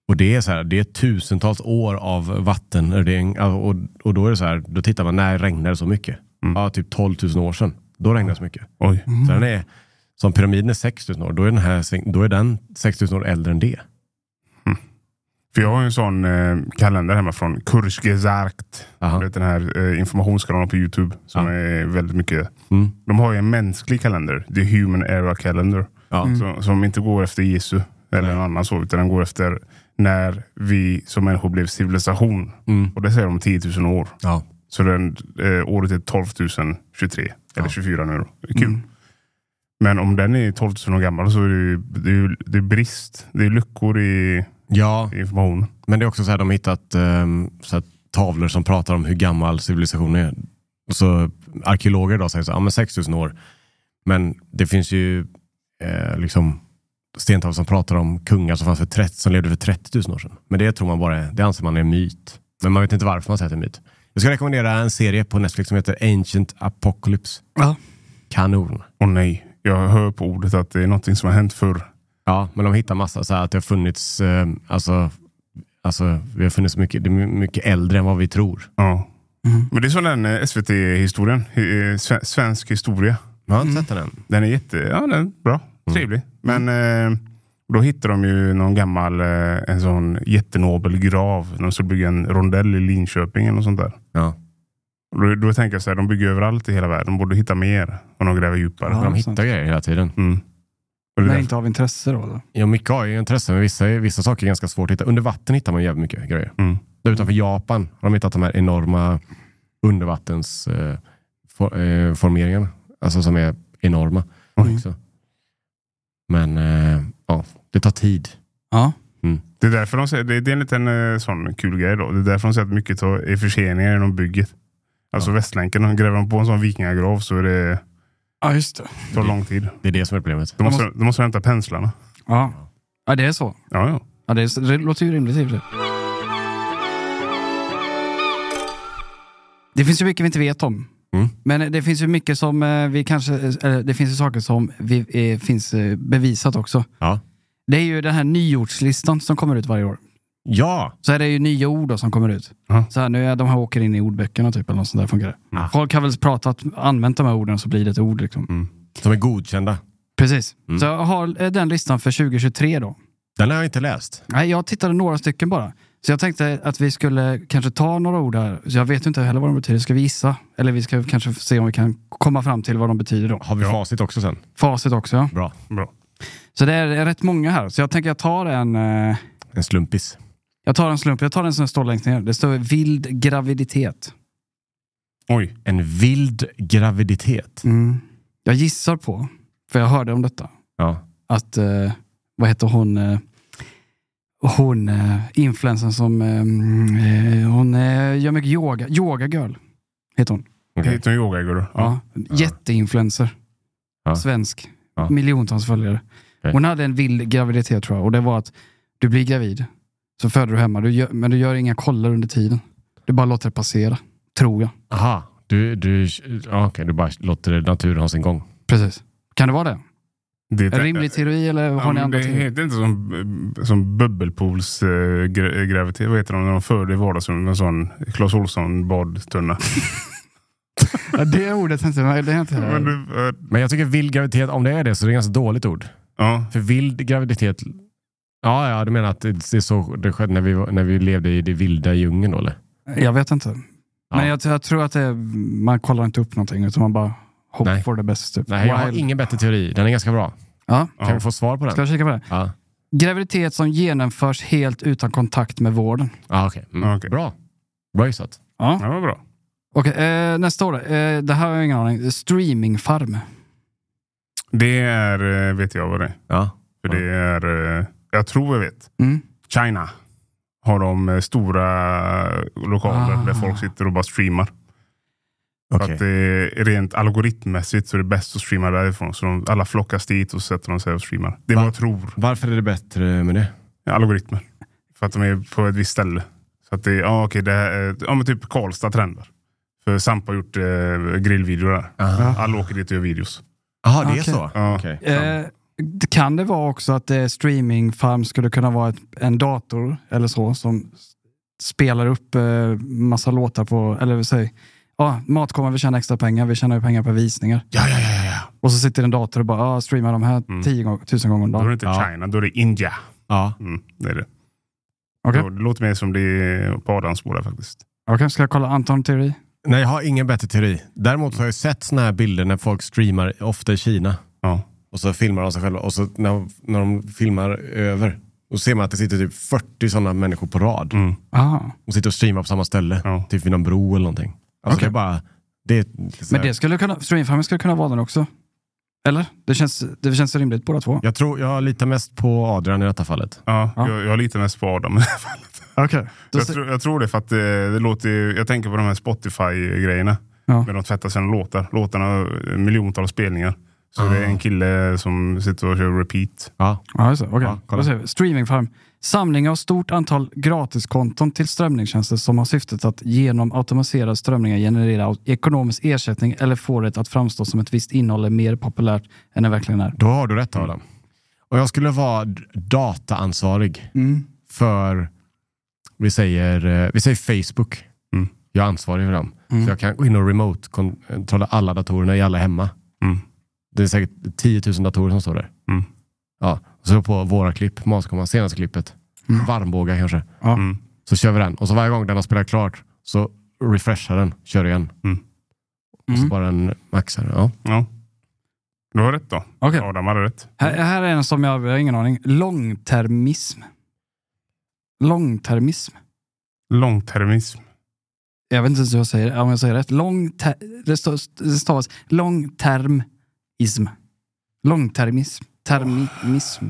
Speaker 1: och det är så här, det är tusentals år av vattenerodering. Ja, Och, och då är det så här, då tittar man, när regnade det så mycket? Ja, typ 12 000 år sedan. Då regnade det så mycket.
Speaker 3: Oj.
Speaker 1: Så den är, som pyramiden är 6 000 år, då är den, här, sving- då är den 6 000 år äldre än det.
Speaker 3: För jag har ju en sån eh, kalender hemma från Kursgesagt.
Speaker 1: Aha.
Speaker 3: Du vet den här eh, informationskanalen på Youtube som
Speaker 1: Ja.
Speaker 3: är väldigt mycket.
Speaker 1: Mm.
Speaker 3: De har ju en mänsklig kalender. The Human Era Calendar.
Speaker 1: Ja.
Speaker 3: Som, som inte går efter Jesu eller någon annan så. Utan den går efter när vi som människor blev civilisation. Och det säger de 10 000 år.
Speaker 1: Ja.
Speaker 3: Så den, eh, året är 12 023 eller 24 nu. då. Det är Kul. Men om den är 12 000 år gammal så är det ju, det är ju det är brist. Det är luckor i
Speaker 1: ja,
Speaker 3: i informationen.
Speaker 1: men det är också så här, de har hittat ehm, så här, tavlor som pratar om hur gammal civilisationen är. Så arkeologer idag säger så här, ja men 6 000 år. Men det finns ju eh, liksom stentavlor som pratar om kungar som, fanns för 30, som levde för 30 000 år sedan. Men det tror man bara är, det anser man är en myt. Men man vet inte varför man säger att det är en myt. Jag ska rekommendera en serie på Netflix som heter Ancient Apocalypse.
Speaker 2: Ja.
Speaker 1: Kanon.
Speaker 3: Och nej, jag hör på ordet att det är någonting som har hänt förr.
Speaker 1: Ja, men de hittar massa så här att det har funnits, eh, alltså, alltså vi har funnits mycket, det är mycket äldre än vad vi tror.
Speaker 3: Ja. Men det är som den eh, SVT-historien, eh, sve- svensk historia.
Speaker 1: Man har inte sett den än.
Speaker 3: Den är jätte, ja den är bra, trevlig. Men eh, då hittar de ju någon gammal, eh, en sån jättenobel grav. De ska bygga en rondell i Linköping eller något sånt där.
Speaker 1: Ja.
Speaker 3: Och då, då tänker jag så här, de bygger överallt i hela världen. De borde hitta mer om de gräver djupare.
Speaker 2: Ja.
Speaker 1: De hittar
Speaker 2: sant.
Speaker 1: grejer hela tiden.
Speaker 3: Mm. Och det
Speaker 2: Men
Speaker 3: där-
Speaker 2: inte av intresse då? Eller?
Speaker 1: Ja, mycket har ju intresse, men vissa, vissa saker är ganska svårt att hitta. Under vatten hittar man jävligt mycket grejer.
Speaker 3: Mm.
Speaker 1: Där utanför Japan har de hittat de här enorma undervattensformeringarna. Eh, for, eh, formeringarna. alltså som är enorma.
Speaker 3: Oj.
Speaker 1: Också. Men eh, ja, det tar tid.
Speaker 2: Ja.
Speaker 3: Det är därför de säger, det, det är en liten eh, sån kul grej då. Det är därför de säger att mycket tar- är förseningar inom bygget. Alltså Västlänken, om gräver de på en sån vikingagrav så är det,
Speaker 2: Ja, just det.
Speaker 3: tar lång tid.
Speaker 1: Det är det som är problemet.
Speaker 3: De måste, de måste hämta penslarna.
Speaker 2: Ja, ja det är så.
Speaker 3: Ja, ja.
Speaker 2: Ja, det, är, så- det låter ju rimligt i och för sig. Det finns ju mycket vi inte vet om.
Speaker 1: Mm.
Speaker 2: Men det finns ju mycket som eh, vi kanske... Eller det finns ju saker som vi, eh, finns eh, bevisat också.
Speaker 1: Ja.
Speaker 2: Det är ju den här nyordslistan som kommer ut varje år.
Speaker 1: Ja!
Speaker 2: Så är det ju nya ord då som kommer ut.
Speaker 3: Ja.
Speaker 2: Så här, nu är de här åker in i ordböckerna typ, eller något sånt där funkar det.
Speaker 1: Ah.
Speaker 2: Folk har väl pratat, använt de här orden så blir det ett ord liksom.
Speaker 1: Mm. Som är godkända.
Speaker 2: Precis.
Speaker 1: Mm.
Speaker 2: Så jag har eh, den listan för 2023 då.
Speaker 1: Den har jag inte läst.
Speaker 2: Nej, jag tittade några stycken bara. Så jag tänkte att vi skulle kanske ta några ord här. Så jag vet ju inte heller vad de betyder. Ska vi gissa? Eller vi ska kanske se om vi kan komma fram till vad de betyder då.
Speaker 1: Har vi facit också sen?
Speaker 2: Facit också. ja.
Speaker 1: Bra.
Speaker 3: Bra.
Speaker 2: Så det är rätt många här. Så jag tänker jag tar en, eh,
Speaker 1: En slumpis.
Speaker 2: jag tar en slump. Jag tar den som står längst ner. Det står vild graviditet.
Speaker 3: Oj.
Speaker 1: En vild graviditet.
Speaker 2: Jag gissar på, för jag hörde om detta,
Speaker 1: Ja.
Speaker 2: att eh, vad heter hon, eh, hon eh, influensen som eh, mm, eh, hon eh, gör mycket yoga. Yoga girl heter hon.
Speaker 1: Okej.
Speaker 3: Heter hon yogaguru?
Speaker 2: Ja. Jätteinfluencer.
Speaker 1: Ja.
Speaker 2: Svensk.
Speaker 1: Ja.
Speaker 2: Miljontals följare.
Speaker 1: Okej.
Speaker 2: Hon hade en vild graviditet tror jag. Och det var att du blir gravid, så föder du hemma, du gör, men du gör inga kollar under tiden. Du bara låter det passera. Tror jag.
Speaker 1: Aha. Du, du, ja, okej, du bara låter naturen ha sin gång.
Speaker 2: Precis. Kan det vara det?
Speaker 3: Det
Speaker 2: En rimlig teori eller
Speaker 3: Ja,
Speaker 2: har ni
Speaker 3: men
Speaker 2: andra
Speaker 3: det
Speaker 2: teorier?
Speaker 3: heter inte som, som bubbelpools eh, gra- gravitet. Vad heter de när de förde i vardagsrummet med en sån Clas Ohlson badtunna?
Speaker 2: Ja, det ordet tänkte jag, det har jag inte
Speaker 3: Men
Speaker 2: heller.
Speaker 3: du, eh,
Speaker 1: Men jag tycker vild graviditet, om det är det så är det ett ganska dåligt ord.
Speaker 3: ja,
Speaker 1: För vild graviditet... Ja, ja, du menar att det, det är så det skedde när vi, var- när vi levde i det vilda djungeln då eller?
Speaker 2: Jag vet inte.
Speaker 1: Ja.
Speaker 2: Men jag, jag tror att det, är- man kollar inte upp någonting utan man bara hope
Speaker 1: Nej.
Speaker 2: for the best. Typ.
Speaker 1: Nej, jag har
Speaker 2: Wild.
Speaker 1: ingen bättre teori. Den är ganska bra.
Speaker 2: ja,
Speaker 1: Kan vi få svar på den?
Speaker 2: ska jag kika på det?
Speaker 1: Ja,
Speaker 2: Graviditet som genomförs helt utan kontakt med vården.
Speaker 1: ah, okej. Mm.
Speaker 3: Ja, okej.
Speaker 1: Bra. Bra gissat.
Speaker 2: Ja.
Speaker 3: det var bra.
Speaker 2: Okej, eh, nästa år. Eh, det här har jag ingen aning. Streamingfarm.
Speaker 3: Det är, eh, vet jag vad det är.
Speaker 1: Ja.
Speaker 3: För det är, eh, jag tror jag vet.
Speaker 2: Mm.
Speaker 3: China har de eh, stora lokaler
Speaker 2: Ah.
Speaker 3: där folk sitter och bara streamar. För
Speaker 1: Okej.
Speaker 3: att det är rent algoritmmässigt så är det bäst att streama därifrån. Så de, alla flockas dit och sätter de sig och streamar. Det är
Speaker 1: Va?
Speaker 3: vad jag tror.
Speaker 1: Varför är det bättre med det?
Speaker 3: Ja, algoritmer. För att de är på ett visst ställe. Så att det, ja okej, det här, är- ja men typ Karlstad trendar. För Samp har gjort eh, grillvideor där.
Speaker 1: Aha.
Speaker 3: Alla åker dit och gör videos.
Speaker 1: Jaha, det är
Speaker 2: Okej.
Speaker 1: så?
Speaker 3: Ja.
Speaker 1: Okej.
Speaker 2: Eh, d- kan det vara också att eh, streamingfarm skulle kunna vara ett, en dator eller så som s- spelar upp eh, massa låtar på, eller säg, ja, Matkoman vill tjäna extra pengar, vi tjänar ju pengar per visningar.
Speaker 3: Ja, ja, ja. ja.
Speaker 2: Och så sitter en dator och bara ah, streamar de här
Speaker 3: Mm.
Speaker 2: tio gång, tusen gånger om
Speaker 3: Då är det
Speaker 2: dagen.
Speaker 3: inte
Speaker 1: Ja.
Speaker 3: China, då är det India.
Speaker 1: Ja.
Speaker 3: Mm, det är det.
Speaker 2: Okej,
Speaker 3: Ja, Det låter mer som det är på Adams där faktiskt.
Speaker 2: Okej, ska jag kolla Anton teori?
Speaker 1: Nej, jag har ingen bättre teori. Däremot så har jag sett såna här bilder när folk streamar, ofta i Kina.
Speaker 3: Ja.
Speaker 1: Och så filmar de sig själva och så när, när de filmar över då ser man att det sitter typ 40 sådana människor på rad
Speaker 3: Mm.
Speaker 2: Aha.
Speaker 1: och sitter och streamar på samma ställe.
Speaker 3: Ja.
Speaker 1: Typ vid någon bro eller någonting. Alltså
Speaker 2: Okej.
Speaker 1: det är bara... Det, är- så
Speaker 2: Men
Speaker 1: här-
Speaker 2: det skulle kunna, streamingfarmen skulle kunna vara den också. Eller? Det känns, det känns rimligt båda två.
Speaker 1: Jag tror jag litar mest på Adrian i detta fallet.
Speaker 3: Ja,
Speaker 2: Ja.
Speaker 3: Jag, jag litar mest på Adam i det här fallet.
Speaker 2: Okej.
Speaker 3: Jag, tror- jag tror det för att eh, det låter ju- Jag tänker på de här Spotify-grejerna.
Speaker 2: Ja.
Speaker 3: När de tvättar sina låtar. Låtarna har eh, miljontals spelningar. Så det är en kille som sitter och kör repeat.
Speaker 1: Ja.
Speaker 2: Ja, just det. Okej.
Speaker 1: Ja, kolla.
Speaker 2: Vad säger vi? Streamingfarm. Samling av stort antal gratiskonton till strömningstjänster som har syftet att genom automatiserade strömningar generera au- ekonomisk ersättning eller få det att framstå som ett visst innehåll är mer populärt än det verkligen är.
Speaker 1: Då har du rätt Adam. Och jag skulle vara d- dataansvarig för, vi säger, eh, vi säger Facebook.
Speaker 3: Mm.
Speaker 1: Jag är ansvarig för dem. Så jag kan gå in och remote-kontrolla alla datorerna i alla hemma.
Speaker 3: Mm.
Speaker 1: Det är säkert 10 000 datorer som står där.
Speaker 3: Mm.
Speaker 1: Ja, och så på våra klipp, Maskomma, senaste klippet. Varmbåga kanske.
Speaker 2: Ja.
Speaker 3: Mm.
Speaker 1: Så kör vi den. Och så varje gång den har spelat klart så refreshar den, kör igen.
Speaker 3: Mm.
Speaker 1: Och så
Speaker 2: Mm.
Speaker 1: bara den maxar. Ja.
Speaker 3: Ja. Du har rätt då.
Speaker 2: Okej,
Speaker 3: Adam hade rätt.
Speaker 2: här,
Speaker 1: Mm.
Speaker 2: här är en som jag, jag har ingen aning. Långtermism. Långtermism.
Speaker 3: Långtermism.
Speaker 2: Jag vet inte ens hur jag säger om jag säger rätt. Långter, det stavas, det stavas långtermism. Långtermism. Termism.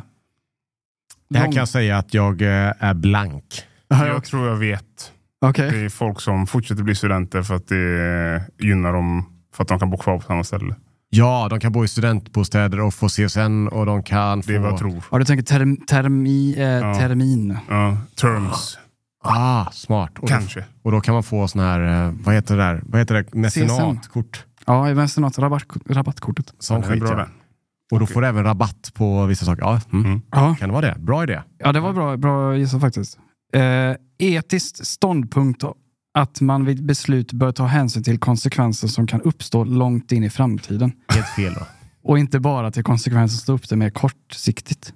Speaker 1: Det här
Speaker 2: Lång-
Speaker 1: kan jag säga att jag eh, är blank.
Speaker 3: jag tror jag vet.
Speaker 2: Okej.
Speaker 3: Det är folk som fortsätter bli studenter för att det gynnar dem för att de kan bo kvar på samma ställe.
Speaker 1: Ja, de kan bo i studentbostäder och få CSN och de kan få...
Speaker 3: Det är vad jag tror.
Speaker 2: Ja, du tänker term, termi, eh, termin.
Speaker 3: Ja, terms,
Speaker 1: Ah, smart. Och,
Speaker 3: kanske.
Speaker 1: och då kan man få sån här, eh, vad heter det där? Vad heter det? Mecenatkort.
Speaker 2: Ja, i vänster något rabattkort, rabattkortet.
Speaker 1: Sån
Speaker 3: Den är
Speaker 1: skit,
Speaker 3: bra
Speaker 1: ja.
Speaker 3: den.
Speaker 1: Och då får du även rabatt på vissa saker. Ja, mm.
Speaker 2: Ja,
Speaker 1: Kan det vara det? Bra idé.
Speaker 2: ja det var bra, bra gissat faktiskt. Eh, etiskt ståndpunkt att man vid beslut bör ta hänsyn till konsekvenser som kan uppstå långt in i framtiden.
Speaker 1: Helt fel då.
Speaker 2: Och inte bara till konsekvenser som står upp det mer kortsiktigt.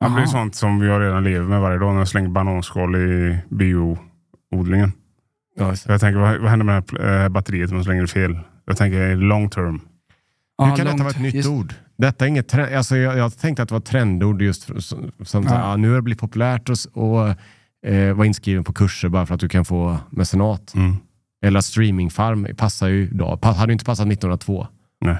Speaker 3: Ja, men det är
Speaker 2: Aha.
Speaker 3: sånt som jag redan lever med varje dag när jag slänger bananskal i bioodlingen.
Speaker 1: Ja,
Speaker 3: Så Jag tänker, vad, vad händer med det här eh, batteriet om jag slänger det fel? Jag tänker long term.
Speaker 2: Ja,
Speaker 1: Hur kan
Speaker 2: långt-
Speaker 1: detta vara ett nytt
Speaker 2: just-
Speaker 1: ord? Detta är inget trend, alltså jag, jag tänkte att det var ett trendord just för- som, som
Speaker 2: Ja.
Speaker 1: så här, ah, nu har det blivit populärt att s- och, eh, vara inskriven på kurser bara för att du kan få mecenat.
Speaker 3: Mm.
Speaker 1: Eller att streamingfarm passar ju idag. Pa, hade ju inte passat 1902.
Speaker 3: Nej.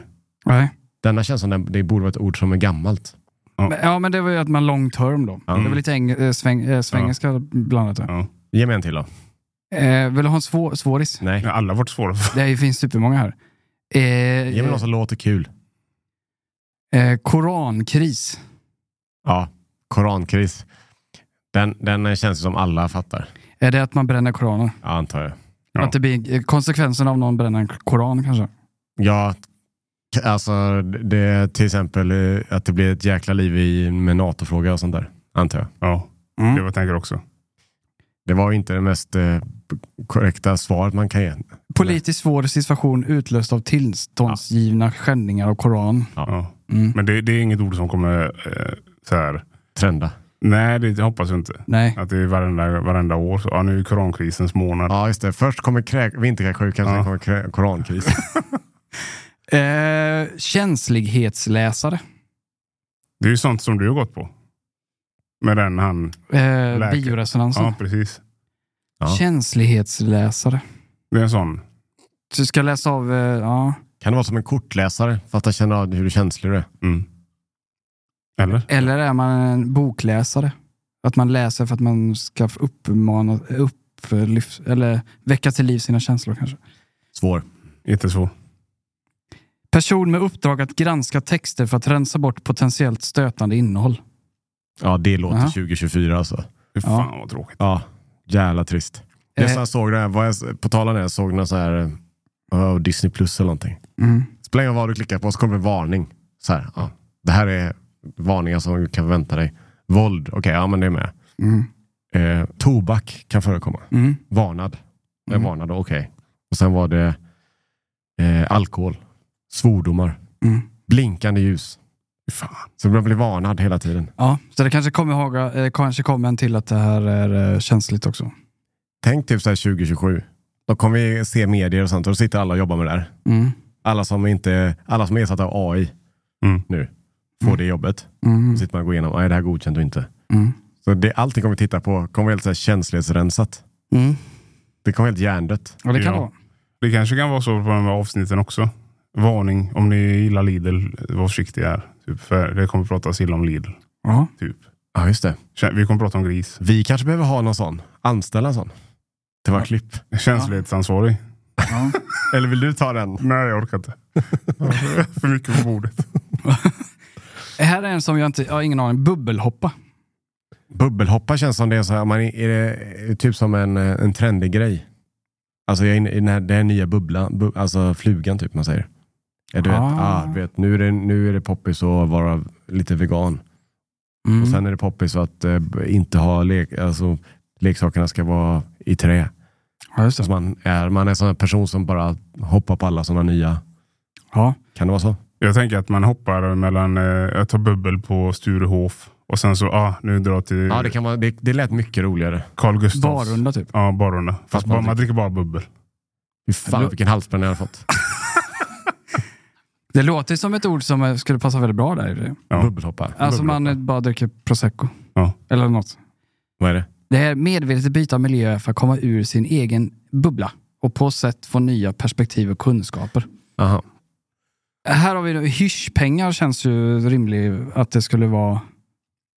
Speaker 2: Nej.
Speaker 1: Denna känns som den, det borde vara ett ord som är gammalt.
Speaker 2: Men- Ja, men det var ju att man long term då. Det var lite äng, eh, sväng, eh, svengelska blandat. där.
Speaker 3: Ja.
Speaker 1: Ge mig en till då.
Speaker 2: Eh, vill du ha en svår, svåris?
Speaker 1: Nej.
Speaker 3: Ja, Alla har varit svåra.
Speaker 2: Det är- finns supermånga här. Eh,
Speaker 1: Ge mig något som låter kul.
Speaker 2: eh, korankris.
Speaker 1: Ja, korankris. Den, den känns som alla fattar.
Speaker 2: Är det att man bränner koraner?
Speaker 1: Ja, antar jag.
Speaker 3: Ja.
Speaker 2: Att det blir eh, konsekvensen av någon bränner en koran kanske?
Speaker 1: Ja, k- alltså det till exempel eh, att det blir ett jäkla liv i, med NATO-fråga och sånt där. Antar jag.
Speaker 3: Ja, det är vad jag tänker också.
Speaker 1: Det var ju inte det mest eh, korrekta svaret man kan ge.
Speaker 2: Politiskt svår situation utlöst av tillståndsgivna skändningar av koran.
Speaker 3: Ja.
Speaker 2: Mm.
Speaker 3: Men det, det är inget ord som kommer eh, så här.
Speaker 1: Trenda.
Speaker 3: Nej, det hoppas jag inte.
Speaker 2: Nej.
Speaker 3: Att det är varenda, varenda år. Så, ja, nu är korankrisens månad.
Speaker 1: Ja, just det. Först kommer kräk, vinterkräksjukan, sen
Speaker 3: Ja.
Speaker 1: kommer krä, korankris.
Speaker 2: Eh, känslighetsläsare.
Speaker 3: Det är ju sånt som du har gått på. Med den han...
Speaker 2: Eh,
Speaker 3: Läkare.
Speaker 2: bioresonansen.
Speaker 3: Ja, precis.
Speaker 1: Ja.
Speaker 2: Känslighetsläsare.
Speaker 3: Det är en sån.
Speaker 2: Du ska läsa av... Eh, ja.
Speaker 1: kan det vara som en kortläsare? För att känna av hur känslig du är.
Speaker 3: Mm. Eller?
Speaker 2: Eller är man en bokläsare? Att man läser för att man ska uppmana, upplyft, eller väcka till liv sina känslor kanske.
Speaker 1: Svår.
Speaker 3: Jättesvår.
Speaker 2: Person med uppdrag att granska texter för att rensa bort potentiellt stötande innehåll.
Speaker 1: Ja, det låter
Speaker 2: Aha.
Speaker 1: 2024 alltså.
Speaker 3: Fy
Speaker 2: Ja.
Speaker 3: fan vad tråkigt.
Speaker 1: Ja, jävla trist.
Speaker 2: Eh.
Speaker 1: Jag så här såg det här, vad jag, på tal om det, jag såg någon så här, eh, Disney plus eller någonting.
Speaker 2: Mm.
Speaker 1: Spelar ingen roll vad du klickar på så kommer en varning. Så här, ja, det här är varningar som du kan vänta dig. Våld, okej, ja men det är med.
Speaker 2: Mm.
Speaker 1: Eh, tobak kan förekomma.
Speaker 2: Mm.
Speaker 1: Varnad. Jag
Speaker 2: Mm.
Speaker 1: varnade, okej. Och sen var det eh, alkohol, svordomar,
Speaker 2: Mm.
Speaker 1: blinkande ljus.
Speaker 3: Fy fan.
Speaker 1: Så man blir varnad hela tiden.
Speaker 2: Ja, så det kanske kommer, ihåg, eh, kanske kommer en till att det här är eh, känsligt också.
Speaker 1: Tänk typ så här 2027. Då kommer vi se medier och sånt och då sitter alla och jobbar med det här.
Speaker 2: Mm.
Speaker 1: Alla som, inte, alla som är ersatta av AI
Speaker 3: Mm.
Speaker 1: nu får det jobbet.
Speaker 2: Mm.
Speaker 1: Då sitter man och går igenom, är det här godkänt och inte?
Speaker 2: Mm.
Speaker 1: Så det, allting kommer vi titta på kommer vara helt så här känslighetsrensat.
Speaker 2: Mm.
Speaker 1: Det kommer helt hjärndött.
Speaker 2: Ja, det kan
Speaker 3: Ja.
Speaker 2: vara.
Speaker 3: Det kanske kan vara så på de här avsnitten också. Varning om ni gillar Lidl, var försiktiga här. Typ, för det kommer pratas illa om Lidl.
Speaker 2: Ja.
Speaker 3: Typ.
Speaker 1: Ja, just det.
Speaker 3: Kä- Vi kommer prata om gris.
Speaker 1: Vi kanske behöver ha någon sån. Anställa en sån. Till våra klipp.
Speaker 3: Känslighetsansvarig.
Speaker 2: Ja.
Speaker 1: Eller vill du ta den?
Speaker 3: Nej, jag orkar inte. För mycket på bordet.
Speaker 2: här är en som jag inte, jag har ingen aning, bubbelhoppa.
Speaker 1: Bubbelhoppa känns som det är så här, man är, är det är typ som en, eh, en trendig grej. Alltså jag är inne i den här, den här nya bubblan, bu, alltså flugan typ man säger. Ja, du vet,
Speaker 2: Ah.
Speaker 1: ah. du vet, nu, är det, nu är det poppis att vara lite vegan.
Speaker 2: Mm.
Speaker 1: Och sen är det poppis att eh, b- inte ha lek, alltså, leksakerna ska vara i trä.
Speaker 2: ja, just
Speaker 1: Så att
Speaker 2: det.
Speaker 1: man är, man är en sån här person som bara hoppar på alla sådana nya.
Speaker 2: Ja.
Speaker 1: Kan det vara så?
Speaker 3: Jag tänker att man hoppar mellan, eh, jag tar bubbel på Sturehof och sen så, ah, nu drar jag till
Speaker 1: Ja, det, kan vara, det, det lät mycket roligare.
Speaker 3: Carl Gustafs.
Speaker 2: Barunda typ.
Speaker 3: Ja, Barunda. Fast
Speaker 1: man
Speaker 3: man, man dricker bara bubbel.
Speaker 1: Fy fan vilken halsbränna jag har fått.
Speaker 2: Det låter ju som ett ord som eh, skulle passa väldigt bra där. i och för sig.
Speaker 3: Ja.
Speaker 1: Bubbelhoppa.
Speaker 2: Alltså man eh,
Speaker 1: Bubbelhoppa.
Speaker 2: bara dricker prosecco.
Speaker 3: Ja.
Speaker 2: Eller något.
Speaker 1: Vad är det?
Speaker 2: Det här medvetet byta miljö för att komma ur sin egen bubbla och på sätt få nya perspektiv och kunskaper.
Speaker 1: Aha.
Speaker 2: Här har vi nu- hyschpengar känns ju rimligt att det skulle vara.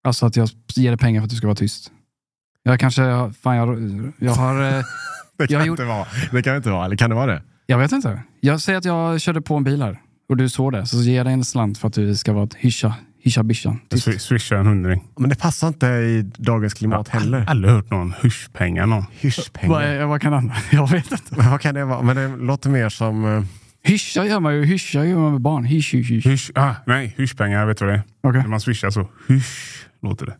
Speaker 2: Alltså att jag ger dig pengar för att du ska vara tyst. Jag kanske, fan jag, jag har, eh,
Speaker 1: Det
Speaker 2: Jag
Speaker 1: kan,
Speaker 2: har
Speaker 1: inte vara. det kan inte vara, eller kan det vara det?
Speaker 2: jag vet inte. Jag säger att jag körde på en bil här och du såg det. Så ger jag dig en slant för att du ska vara ett hyscha, hyscha bischa.
Speaker 3: Swi- Swisha en hundring.
Speaker 1: Men det passar inte i dagens klimat heller.
Speaker 3: Aldrig hört någon hyschpengar någon.
Speaker 2: Vad,
Speaker 1: Hyschpengar.
Speaker 2: är- vad kan han? Jag vet inte.
Speaker 1: Men Vad kan det vara? Men det låter mer som... eh,
Speaker 2: Hyscha gör man ju, hyscha gör man med barn. Hysch, hysch, hysch.
Speaker 3: Hysch, ah, nej, hyschpengar vet du vad det är?
Speaker 2: Okej.
Speaker 3: När man swishar så hysch låter det.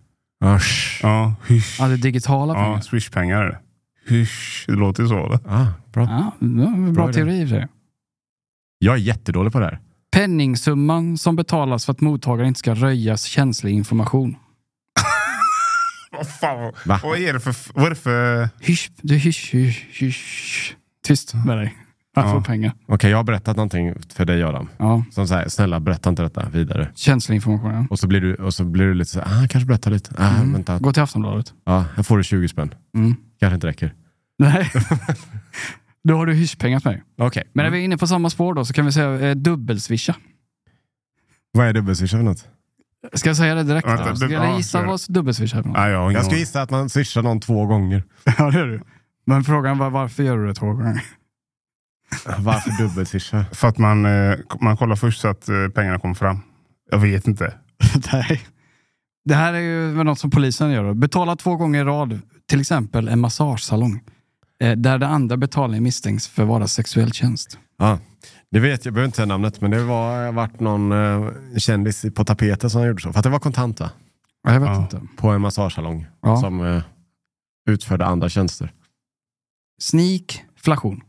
Speaker 1: Usch.
Speaker 3: Ja, hysch.
Speaker 2: Ja, det är digitala
Speaker 3: Ja,
Speaker 2: pengar.
Speaker 3: swishpengar är det. Hysch, det låter ju så. Eller?
Speaker 1: Ah, bra.
Speaker 2: Ja, det var en bra,
Speaker 1: Bra idé.
Speaker 2: teori i och för sig.
Speaker 1: Jag är jättedålig på det här.
Speaker 2: Penningsumman som betalas för att mottagaren inte ska röjas känslig information.
Speaker 3: Vad fan?
Speaker 1: Va?
Speaker 3: Vad är det för... Vad är det för...
Speaker 2: Hysch, du hysch, hysch, hysch. Tyst med dig. Jag
Speaker 3: Ja.
Speaker 2: får pengar.
Speaker 1: Okej, jag har berättat någonting för dig Adam.
Speaker 2: Ja,
Speaker 1: Som säger, snälla berätta inte detta vidare.
Speaker 2: känslig information. Ja.
Speaker 1: Och så blir du, och så blir du lite så här, ah, kanske berätta lite. Ah,
Speaker 2: Mm.
Speaker 1: vänta.
Speaker 2: Gå till Aftonbladet.
Speaker 1: Ja, här får du 20 spänn.
Speaker 2: Mm.
Speaker 1: Kanske inte räcker.
Speaker 2: Nej. då har du hyschpengar till mig.
Speaker 1: Okej.
Speaker 2: Men när vi är inne på samma spår då så kan vi säga eh, dubbelswisha.
Speaker 1: Vad är dubbelswisha för något?
Speaker 2: Ska jag säga det direkt?
Speaker 3: Vänta,
Speaker 2: då? Ska
Speaker 3: du-
Speaker 2: jag
Speaker 3: ja,
Speaker 2: gissa
Speaker 3: kör.
Speaker 2: vad dubbelswisha är för något?
Speaker 3: Nej, jag har ingen
Speaker 1: Jag ska
Speaker 3: aning.
Speaker 1: gissa att man swishar någon två gånger.
Speaker 2: Ja, det är du. Men frågan var varför gör du det två gånger?
Speaker 1: Varför dubbelswisha?
Speaker 3: För att man, eh, man kollar först så att eh, pengarna kommer fram. Jag vet inte.
Speaker 2: Nej. Det här är ju väl något som polisen gör. då. Betala två gånger i rad, till exempel en massagesalong. eh, Där det andra betalningen misstänks för att vara sexuell tjänst.
Speaker 1: Ja, det vet jag. behöver inte säga namnet, men det var varit någon eh, kändis på tapeten som gjorde så. För att det var kontant va?
Speaker 2: Ja, Jag vet
Speaker 3: Ja.
Speaker 2: inte.
Speaker 1: På en massagesalong
Speaker 2: Ja.
Speaker 1: som eh, utförde andra tjänster.
Speaker 2: Sneakflation.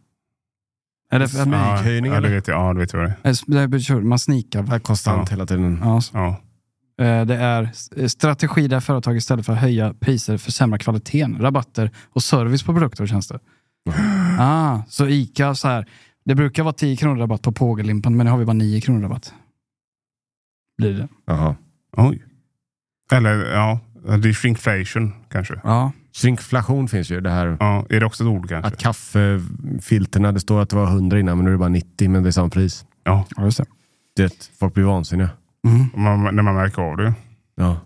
Speaker 2: Är det, att,
Speaker 3: ja,
Speaker 1: Smyghöjning,
Speaker 3: ja, det
Speaker 1: eller?
Speaker 3: vet jag. Ja, det vet jag vad det är.
Speaker 2: är det betyder- man sneakar.
Speaker 1: Ja, Konstant
Speaker 3: Ja.
Speaker 1: hela tiden.
Speaker 2: Ja, så.
Speaker 3: Ja.
Speaker 2: Eh, Det är s- strategi där företag istället för att höja priser försämrar kvaliteten, rabatter och service på produkter och tjänster. Ah, så ICA, så här, det brukar vara 10 kronor rabatt på pågellimpan, men nu har vi bara 9 kronor rabatt. Blir det.
Speaker 1: Jaha.
Speaker 3: Oj. Eller ja, det är shrinkflation kanske.
Speaker 2: Ja.
Speaker 1: Synkflation finns ju. Det här
Speaker 3: Ja, är det också ett ord kanske?
Speaker 1: att kaffefilterna, det står att det var 100 innan men nu är det bara 90 men det är samma pris.
Speaker 3: Ja,
Speaker 2: ja, just det.
Speaker 1: Det, folk blir vansinniga.
Speaker 3: man, när man märker av det.
Speaker 1: Ja.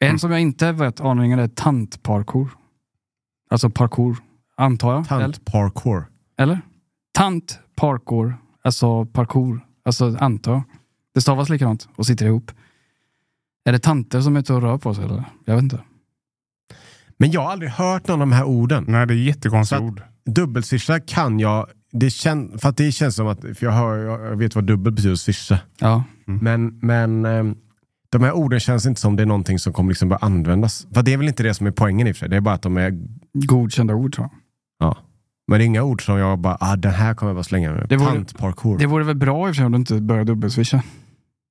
Speaker 2: En som jag inte vet aningen är tantparkour. Alltså parkour, antar jag. Eller?
Speaker 1: Tant parkour.
Speaker 2: Eller? Tant parkour, alltså parkour, alltså anta. Det stavas likadant och sitter ihop. Är det tanter som är ute och rör på sig eller? Jag vet inte.
Speaker 1: Men jag har aldrig hört någon av de här orden.
Speaker 3: Nej, det är jättekonstiga
Speaker 1: Så att-
Speaker 3: ord.
Speaker 1: Dubbelswisha kan jag, det kän, för att det känns som att, för jag, hör, jag vet vad dubbel betyder, swisha.
Speaker 2: Ja.
Speaker 1: Men, men ehm, de här orden känns inte som det är någonting som kommer liksom börja användas. För det är väl inte det som är poängen i och för sig. Det är bara att de är...
Speaker 2: Godkända ord tror jag.
Speaker 1: Ja. Men det är inga ord som jag bara, ah, den här kommer jag bara slänga mig
Speaker 2: Det
Speaker 1: med.
Speaker 2: vore-
Speaker 1: Tantparkour.
Speaker 2: Det vore väl bra i och för sig om du inte börjar dubbelswisha.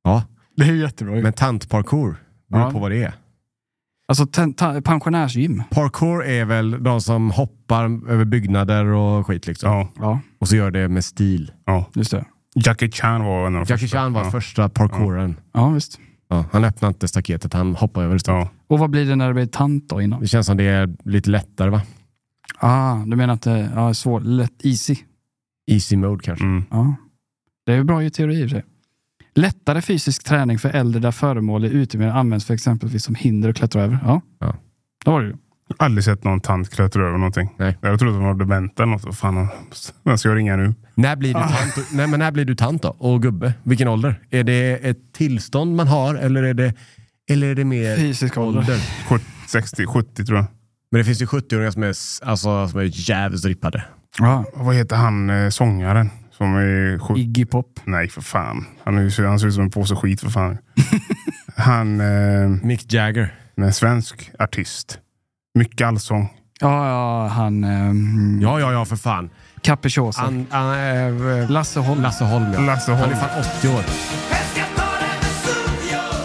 Speaker 1: Ja.
Speaker 2: Det är ju jättebra.
Speaker 1: Men tantparkour, beror
Speaker 2: Ja.
Speaker 1: på vad det är.
Speaker 2: Alltså ten- ta- pensionärsgym.
Speaker 1: Parkour är väl de som hoppar över byggnader och skit liksom.
Speaker 3: Ja,
Speaker 2: Ja,
Speaker 1: Och så gör det med stil.
Speaker 3: ja.
Speaker 2: just det.
Speaker 3: Jackie Chan var en av de
Speaker 1: Jackie
Speaker 3: första.
Speaker 1: Chan var
Speaker 3: ja.
Speaker 1: första parkouren.
Speaker 2: Ja, visst.
Speaker 1: Ja, han öppnade inte staketet, han hoppade över det.
Speaker 3: Ja.
Speaker 2: Och vad blir det när det blir tant då innan?
Speaker 1: Det känns som det är lite lättare va?
Speaker 2: Ah, du menar att det ja, är svårt, lätt, easy?
Speaker 1: Easy mode kanske.
Speaker 3: Mm.
Speaker 2: Ja. Det är ju bra i teori i och för sig. Lättare fysisk träning för äldre där föremål i utemiljö används för exempelvis som hinder att klättra över. Ja,
Speaker 1: Ja.
Speaker 2: då var det ju.
Speaker 3: Aldrig sett någon tant klättra över någonting.
Speaker 1: Nej.
Speaker 3: Jag trodde att de var dementa eller något. Vad Fan, vem ska jag ringa nu?
Speaker 1: När blir, du tant och, nej, men när blir du tant då? Och gubbe? Vilken ålder? Är det ett tillstånd man har eller är det, eller är det mer
Speaker 2: Fysisk ålder.
Speaker 3: 70, 60, 70 tror jag.
Speaker 1: Men det finns ju 70-åringar som är, s- alltså, som är jävligt rippade.
Speaker 2: Ja.
Speaker 3: Vad heter han eh, sångaren? Som är sju...
Speaker 2: Iggy Pop.
Speaker 3: Nej för fan. Han, är, ju- han ser ut som en påse skit för fan. han eh,
Speaker 1: Mick Jagger.
Speaker 3: är en svensk artist. Mycket allsång.
Speaker 2: Ja, ja, han... Um,
Speaker 1: Ja, ja, ja för fan.
Speaker 2: Capricciosa.
Speaker 1: An, an, äh,
Speaker 2: Lasse Holm.
Speaker 1: Lasse Holm ja.
Speaker 3: Lasse
Speaker 1: Han
Speaker 3: Holm.
Speaker 1: är fan 80 år.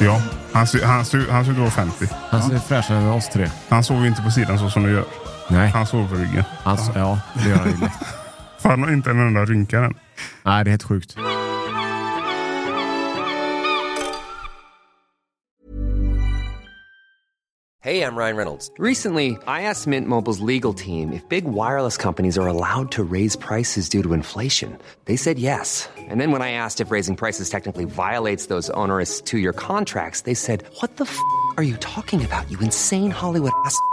Speaker 3: Ja, han ser han ser- han ser ut att vara 50.
Speaker 1: Han ser fräschare än oss tre.
Speaker 3: Han sover ju inte på sidan så som du gör.
Speaker 1: Nej,
Speaker 3: Han sover på ryggen.
Speaker 1: han, Alltså, ja det gör han ju lätt.
Speaker 3: För han har inte en enda rynka än.
Speaker 1: Nej, det är helt sjukt.
Speaker 6: Hey, I'm Ryan Reynolds. Recently, I asked Mint Mobile's legal team if big wireless companies are allowed to raise prices due to inflation. They said yes. And then when I asked if raising prices technically violates those onerous two year contracts, they said, What the f are you talking about, you insane Hollywood ass? f-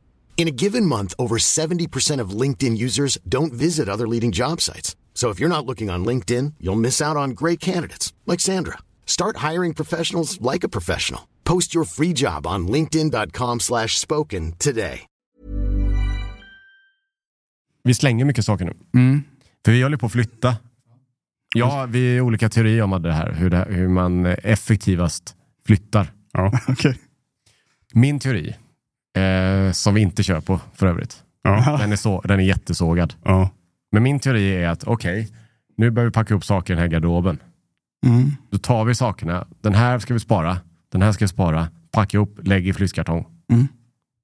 Speaker 7: In a given month, over 70% of LinkedIn users don't visit other leading job sites. So if you're not looking on LinkedIn, you'll miss out on great candidates like Sandra. Start hiring professionals like a professional. Post your free job on linkedin.com/spoken slash spoken today.
Speaker 1: Vi slänger mycket saker nu.
Speaker 2: Mm.
Speaker 1: För vi håller på att flytta. Ja, vi är olika teorier om det här, hur, det, hur man effektivast flyttar.
Speaker 3: Ja.
Speaker 2: Okej.
Speaker 1: Min teori, eh, som vi inte kör på för övrigt,
Speaker 3: Ja.
Speaker 1: den är, så, den är jättesågad.
Speaker 3: ja.
Speaker 1: Men min teori är att okej, nu börjar vi packa upp saker i den här garderoben.
Speaker 2: Mm.
Speaker 1: Då tar vi sakerna, den här ska vi spara, den här ska vi spara, packa ihop, lägg i flyttkartong.
Speaker 2: Mm.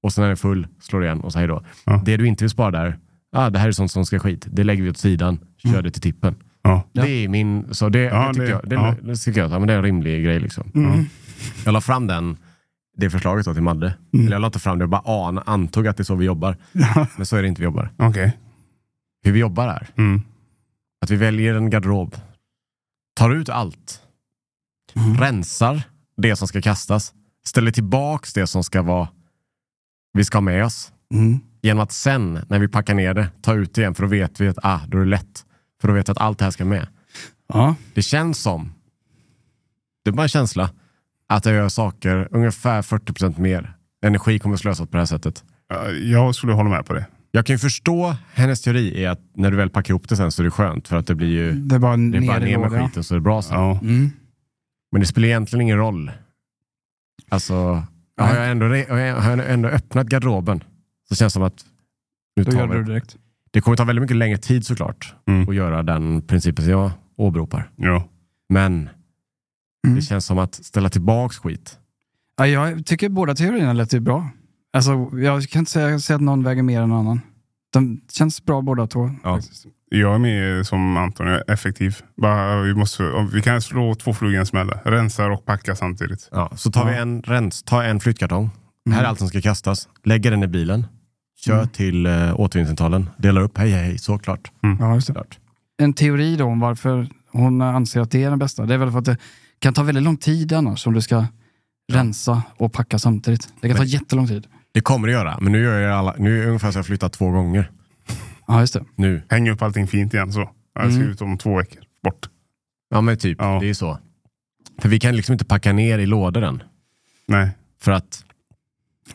Speaker 1: Och sen när den är full, slår igen och så hej då.
Speaker 3: Ja.
Speaker 1: Det du inte vill spara där, ah, det här är sånt som ska skit, det lägger vi åt sidan, kör det till tippen.
Speaker 3: Mm. Ja.
Speaker 1: Det är min, så det,
Speaker 3: Ja,
Speaker 1: det tycker
Speaker 3: det-
Speaker 1: jag, det,
Speaker 3: ja. Mm.
Speaker 1: det tycker jag ja, men det är en rimlig grej. Liksom. Ja. Jag la fram den, det förslaget då till Madde.
Speaker 3: Mm.
Speaker 1: Eller jag la inte fram det, jag bara an, antog att det är så vi jobbar. Men så är det inte vi jobbar.
Speaker 3: Okej.
Speaker 1: Hur vi jobbar är
Speaker 3: Mm.
Speaker 1: att vi väljer en garderob, tar ut allt,
Speaker 2: Mm.
Speaker 1: rensar det som ska kastas, ställer tillbaks det som ska vara, vi ska ha med oss.
Speaker 2: Mm.
Speaker 1: Genom att sen, när vi packar ner det, ta ut det igen, för då vet vi att ah, då är det lätt. För då vet vi att allt det här ska med.
Speaker 2: Ja.
Speaker 1: Det känns som, det är bara en känsla, att jag gör saker ungefär 40% mer. Energi kommer slösas på det här sättet.
Speaker 3: Ja, Jag skulle hålla med på det.
Speaker 1: Jag kan ju förstå hennes teori är att när du väl packar ihop det sen så är det skönt för att det blir ju
Speaker 2: Det är bara
Speaker 1: det är bara
Speaker 2: Mm. ner i
Speaker 1: ner med
Speaker 2: lådan.
Speaker 1: skiten så är det bra sen.
Speaker 3: Ja.
Speaker 2: Mm.
Speaker 1: Men det spelar egentligen ingen roll. Alltså, har jag ändå, re- har jag- har jag ändå öppnat garderoben så känns det som att nu
Speaker 2: Då gör
Speaker 1: tar
Speaker 2: du det
Speaker 1: vi.
Speaker 2: direkt.
Speaker 1: Det kommer ta väldigt mycket längre tid såklart
Speaker 3: Mm.
Speaker 1: att göra den principen som jag åberopar.
Speaker 3: Ja.
Speaker 1: Men
Speaker 2: Mm.
Speaker 1: det känns som att ställa tillbaks skit.
Speaker 2: Ja, jag tycker båda teorierna lät ju bra. Alltså, jag kan inte säga, säga att någon väger mer än någon annan. De känns bra båda två.
Speaker 1: Ja.
Speaker 2: faktiskt.
Speaker 3: Jag är med som Anton, jag är effektiv. Bara, vi, måste, om vi kan slå två flugor i en smäll. där. Rensa och packa samtidigt.
Speaker 1: Ja, så tar vi en, rens, tar en flyttkartong. Här
Speaker 2: Mm.
Speaker 1: är allt som ska kastas. Lägger den i bilen. Kör till eh, återvinningscentralen. Delar upp. Hej, hej, hej. Såklart.
Speaker 2: Ja, just det.
Speaker 1: Såklart.
Speaker 2: En teori då om varför hon anser att det är den bästa. Det är väl för att det kan ta väldigt lång tid annars om du ska rensa och packa samtidigt. Det kan ta jättelång tid.
Speaker 1: Det kommer det göra. Men nu gör jag alla, nu är det ungefär så jag har flyttat två gånger.
Speaker 2: Ja, just det.
Speaker 1: Nu.
Speaker 3: Häng upp allting fint igen så. Jag ska ut om två veckor. Bort.
Speaker 1: Ja men typ,
Speaker 3: Ja.
Speaker 1: det är så. För vi kan liksom inte packa ner i lådor än.
Speaker 3: Nej.
Speaker 1: För att,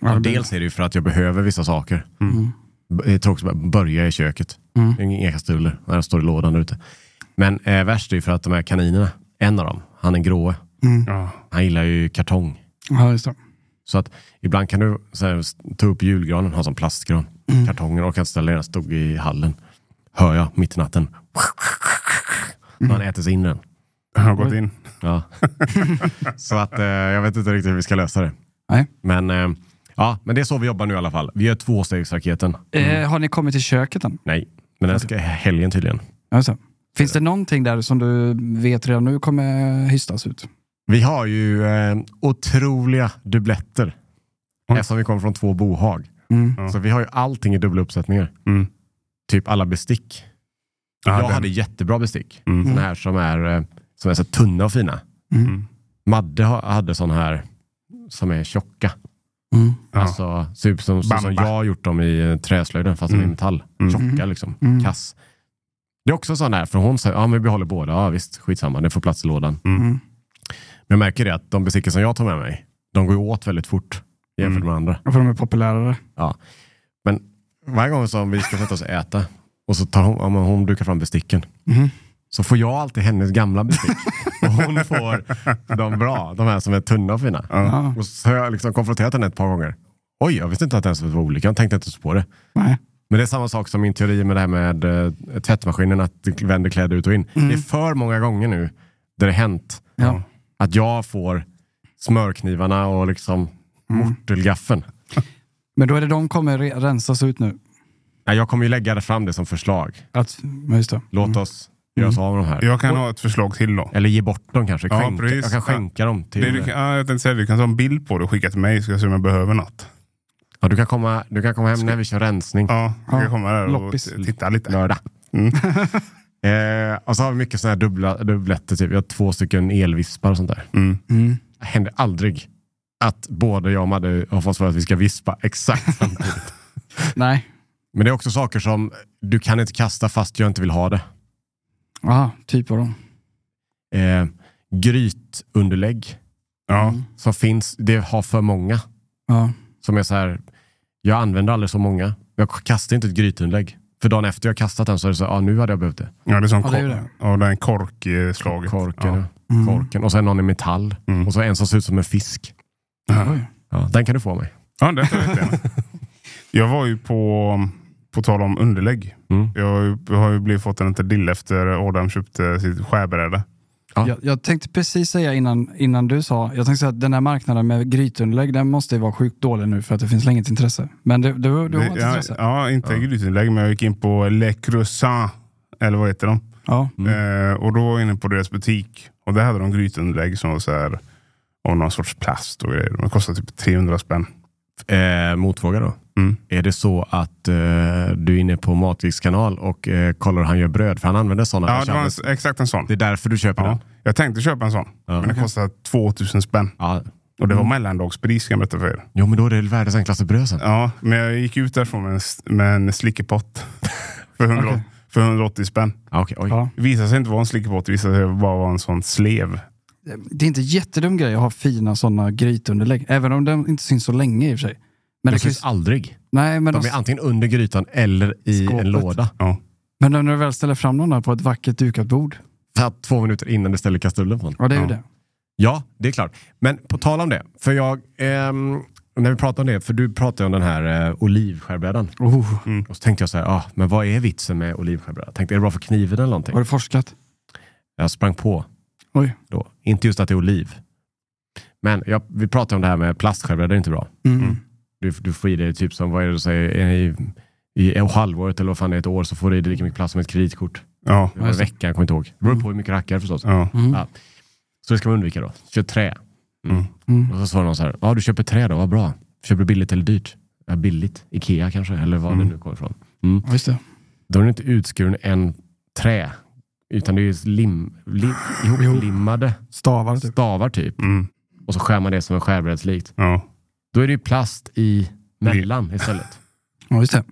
Speaker 2: Ja, det blir-
Speaker 1: dels är det ju för att jag behöver vissa saker.
Speaker 2: Mm.
Speaker 1: B- Det är tråkigt att börja i köket.
Speaker 2: Mm.
Speaker 1: Det är Inga kastruller, när jag står i lådan där ute. Men eh, värst är ju för att de här kaninerna, en av dem, han är grå.
Speaker 3: Ja.
Speaker 1: Han gillar ju kartong.
Speaker 2: Ja, just det.
Speaker 1: Så att ibland kan du så här, s- ta upp julgranen, ha som plastgran.
Speaker 2: Mm.
Speaker 1: Kartongen och kan ställa den, stod i hallen. Hör jag, mitt i natten.
Speaker 2: Mm.
Speaker 1: Han äter sig in i den.
Speaker 3: Jag har gått in.
Speaker 1: Ja. så att eh, jag vet inte riktigt hur vi ska lösa det.
Speaker 2: Nej.
Speaker 1: Men, eh, ja, men det är så vi jobbar nu i alla fall. Vi gör tvåstegsraketen.
Speaker 2: Eh, har ni kommit till köket än?
Speaker 1: Nej, men den ska i helgen tydligen.
Speaker 2: Ja, just det. Finns det någonting där som du vet redan nu kommer hystas ut?
Speaker 1: Vi har ju eh, otroliga dubbletter.
Speaker 3: Mm.
Speaker 1: Eftersom vi kommer från två bohag.
Speaker 2: Mm.
Speaker 1: Så vi har ju allting i dubbla uppsättningar.
Speaker 3: Mm.
Speaker 1: Typ alla bestick.
Speaker 3: Ja,
Speaker 1: jag
Speaker 3: den-
Speaker 1: hade jättebra bestick.
Speaker 3: Mm.
Speaker 1: Såna här som är, eh, som är så tunna och fina.
Speaker 3: Mm.
Speaker 1: Madde ha- hade såna här som är tjocka.
Speaker 2: Mm.
Speaker 3: Ja.
Speaker 1: Alltså, ser ut som, så som
Speaker 3: Bamba.
Speaker 1: jag har gjort dem i eh, träslöjden fast de är i
Speaker 3: Mm.
Speaker 1: metall.
Speaker 3: Mm.
Speaker 1: Tjocka liksom.
Speaker 2: Mm.
Speaker 1: Kass. Det är också sån där, för hon säger, ja men vi behåller båda. Ja visst, skitsamma, det får plats i lådan.
Speaker 3: Mm.
Speaker 1: Men jag märker det att de besticker som jag tar med mig, de går ju åt väldigt fort jämfört
Speaker 3: Mm.
Speaker 1: med andra.
Speaker 2: För de är populärare.
Speaker 1: Men varje gång som vi ska sätta oss och äta och så tar hon, ja, men hon dukar fram besticken.
Speaker 2: Mhm.
Speaker 1: Så får jag alltid hennes gamla bestick. och hon får de bra, de här som är tunna och fina.
Speaker 2: Ja.
Speaker 1: Och så har jag liksom konfronterat henne ett par gånger. Oj, jag visste inte att det ens var olika. Jag tänkte inte så på det.
Speaker 2: Nej.
Speaker 1: Men det är samma sak som min teori med det här med eh, tvättmaskinen, att det vänder kläder ut och in. Det är för många gånger nu där det hänt
Speaker 2: Mm. Ja. Mm.
Speaker 1: att jag får smörknivarna och liksom mortelgaffeln.
Speaker 2: Men då är det de kommer re- rensas ut nu.
Speaker 1: Nej, jag kommer ju lägga fram det som förslag.
Speaker 2: Att, ja, just det.
Speaker 1: Låt
Speaker 3: Mm.
Speaker 1: oss göra oss av med de här.
Speaker 3: Jag kan ha ett förslag till då.
Speaker 1: Eller ge bort dem kanske.
Speaker 3: Ja,
Speaker 1: Skänka,
Speaker 3: precis.
Speaker 1: jag kan skänka dem till...
Speaker 3: Det du, kan- ja, jag tänkte säga, du kan ta en bild på det och skicka till mig så jag ser om jag behöver något.
Speaker 1: Ja, du, kan komma, du kan komma hem när vi kör rensning.
Speaker 3: Ja, jag
Speaker 2: Ja,
Speaker 3: kan komma där och
Speaker 2: loppis.
Speaker 3: t- titta lite.
Speaker 1: Lördag.
Speaker 3: Mm.
Speaker 1: Eh, och så har vi mycket sådana här dubbla, dubbletter. Typ. Jag har två stycken elvispar och sånt där.
Speaker 3: Mm.
Speaker 2: Mm.
Speaker 1: Det händer aldrig att både jag och Madde har fått för att vi ska vispa exakt samtidigt.
Speaker 2: Nej.
Speaker 1: Men det är också saker som du kan inte kasta fast jag inte vill ha det.
Speaker 2: Aha, typ av dem.
Speaker 1: Eh, grytunderlägg
Speaker 3: Ja.
Speaker 2: Mm.
Speaker 1: som finns, det har för många.
Speaker 2: Ja.
Speaker 1: Som är så här, jag använder aldrig så många. Jag kastar inte ett grytunderlägg. För dagen efter jag kastat den så är det så här, ah, nu hade jag behövt det.
Speaker 3: ja, det är som
Speaker 2: Ja,
Speaker 3: kor-
Speaker 2: det är
Speaker 3: ja,
Speaker 2: ju
Speaker 3: det
Speaker 2: det.
Speaker 3: är korkslaget.
Speaker 1: Korken,
Speaker 3: Ja.
Speaker 1: ja.
Speaker 2: Mm.
Speaker 1: Korken. Och sen någon i metall.
Speaker 3: Mm.
Speaker 1: Och så en som ser ut som en fisk.
Speaker 3: Ja.
Speaker 2: Oj.
Speaker 1: Ja, den kan du få av mig.
Speaker 3: Ja, det tar jag jättegärna. Jag var ju på, på tal om underlägg.
Speaker 1: Mm.
Speaker 3: Jag har ju- jag har ju blivit fått en till efter Adam köpte sitt skärbräde.
Speaker 1: Ja.
Speaker 2: Jag, jag tänkte precis säga innan, innan du sa, jag tänkte säga att den här marknaden med grytunderlägg, den måste ju vara sjukt dålig nu för att det finns inget intresse. Men det, det, var- det var
Speaker 3: Det-
Speaker 2: ett
Speaker 3: ja,
Speaker 2: intresse.
Speaker 3: ja, inte glutenlägg, men jag gick in på Le Croissant, eller vad heter de?
Speaker 2: Ja.
Speaker 3: Eh, och då var jag inne på deras butik och där hade de grytunderlägg som var så här, av någon sorts plast och grejer. De kostade typ 300 spänn.
Speaker 1: Eh, motfråga då.
Speaker 3: Mm.
Speaker 1: Är det så att eh, du är inne på Matviks kanal och eh, kollar hur han gör bröd? För han använder sådana.
Speaker 3: Ja, det var en, s- exakt en sån.
Speaker 1: det är därför du köper
Speaker 3: Ja.
Speaker 1: den?
Speaker 3: Jag tänkte köpa en sån,
Speaker 1: Ja.
Speaker 3: men den kostade 2000 spänn.
Speaker 1: Ja.
Speaker 3: Och det var mellandagspris kan jag berätta för er.
Speaker 1: Jo, men då är det världens enklaste bröd sen.
Speaker 3: Ja, men jag gick ut därifrån med en, s- med en slickepott för, 100, för 180 spänn.
Speaker 1: Ja, okej, oj.
Speaker 2: Ja.
Speaker 3: Det visade sig inte vara en slickepott, det visade sig bara vara en sån slev.
Speaker 2: Det är inte jättedum grej att ha fina sådana grytunderlägg, även om de inte syns så länge i och för sig. Men,
Speaker 1: De
Speaker 2: det kan ju,
Speaker 1: syns aldrig.
Speaker 2: nej, men,
Speaker 1: De
Speaker 2: de,
Speaker 1: är antingen under grytan eller i
Speaker 2: Skåpet.
Speaker 1: en låda.
Speaker 3: Ja.
Speaker 2: men när du väl ställer fram dem där på ett vackert dukat bord,
Speaker 1: För att två minuter innan du ställer kastrullen på den.
Speaker 2: ja det är ju
Speaker 3: Ja.
Speaker 2: det.
Speaker 1: Ja, det är klart. Men på tal om det, för jag, ehm, när vi pratade om det, för du pratade om den här eh, olivskärbrädan.
Speaker 2: Oh,
Speaker 1: Och så tänkte jag så här, ah, men vad är vitsen med olivskärbräda? Tänkte, är det bra för kniven eller någonting?
Speaker 2: har du forskat?
Speaker 1: Jag sprang på
Speaker 2: Oj.
Speaker 1: då. Inte just att det är oliv. Men jag, vi pratade om det här med plastskärvor, det är inte bra.
Speaker 2: Mm.
Speaker 1: Du, du får i dig typ som, vad är det du säger, i, i, i halvåret eller vad fan det är, ett år så får du i dig lika mycket plast som ett kreditkort.
Speaker 3: Ja.
Speaker 1: Det var en vecka, jag kommer inte ihåg. Det beror på hur mycket rackar förstås.
Speaker 3: Ja.
Speaker 2: Mm.
Speaker 1: Ja. Så det ska man undvika då. Kör trä.
Speaker 3: Mm.
Speaker 2: Mm.
Speaker 1: Och så svarar någon så här, ja du köper trä då, vad bra. Köper du billigt eller dyrt? Ja, billigt. Ikea kanske, eller var det
Speaker 3: Mm.
Speaker 1: nu kommer ifrån.
Speaker 2: Ja, Just det.
Speaker 1: Då är det inte utskuren en trä, utan det är ju lim, lim, ihoplimmade
Speaker 2: Stavar typ.
Speaker 1: stavar typ.
Speaker 3: Mm.
Speaker 1: Och så skär man det som en skärbrädslikt.
Speaker 3: Ja.
Speaker 1: Då är det ju plast i mellan istället.
Speaker 2: Ja, just det.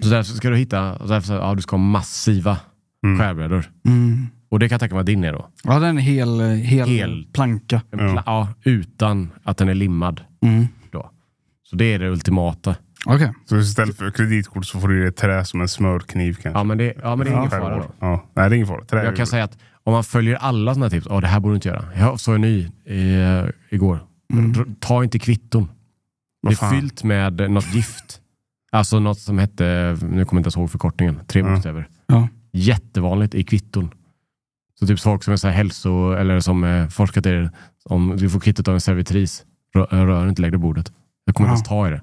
Speaker 1: Så därför ska du hitta, och därför, så- ja du ska ha massiva
Speaker 3: Mm.
Speaker 1: skärbrädor.
Speaker 2: Mm.
Speaker 1: Och det kan jag tänka mig att din är då.
Speaker 2: Ja, den är hel, hel,
Speaker 1: Hel.
Speaker 2: planka.
Speaker 1: En
Speaker 3: Ja.
Speaker 1: pla- ja, utan att den är limmad.
Speaker 2: Mm.
Speaker 1: Så det är det ultimata.
Speaker 2: Okej.
Speaker 3: Så istället för kreditkort så får du det trä som en smörkniv kanske.
Speaker 1: Ja men det, ja, men det är ingen
Speaker 3: Ja,
Speaker 1: fara då.
Speaker 3: Ja. Nej, det är ingen fara. Trä är
Speaker 1: Jag kan
Speaker 3: ju-
Speaker 1: säga att om man följer alla sådana tips, ja det här borde du inte göra. Jag såg en ny eh, igår. Dra- Ta inte kvitton.
Speaker 3: Mm. vad
Speaker 1: Det är
Speaker 3: fan.
Speaker 1: fyllt med eh, något gift. Alltså något som hette, nu kommer jag inte ens ihåg förkortningen, tre
Speaker 3: Ja.
Speaker 1: bokstäver.
Speaker 2: Ja.
Speaker 1: Jättevanligt i kvitton. Så typ folk som är så här hälso, eller som eh, forskat i det, om du får kvittot av en servitris, rör, rör inte, lägg det på bordet. Jag kommer inte ens ta i det.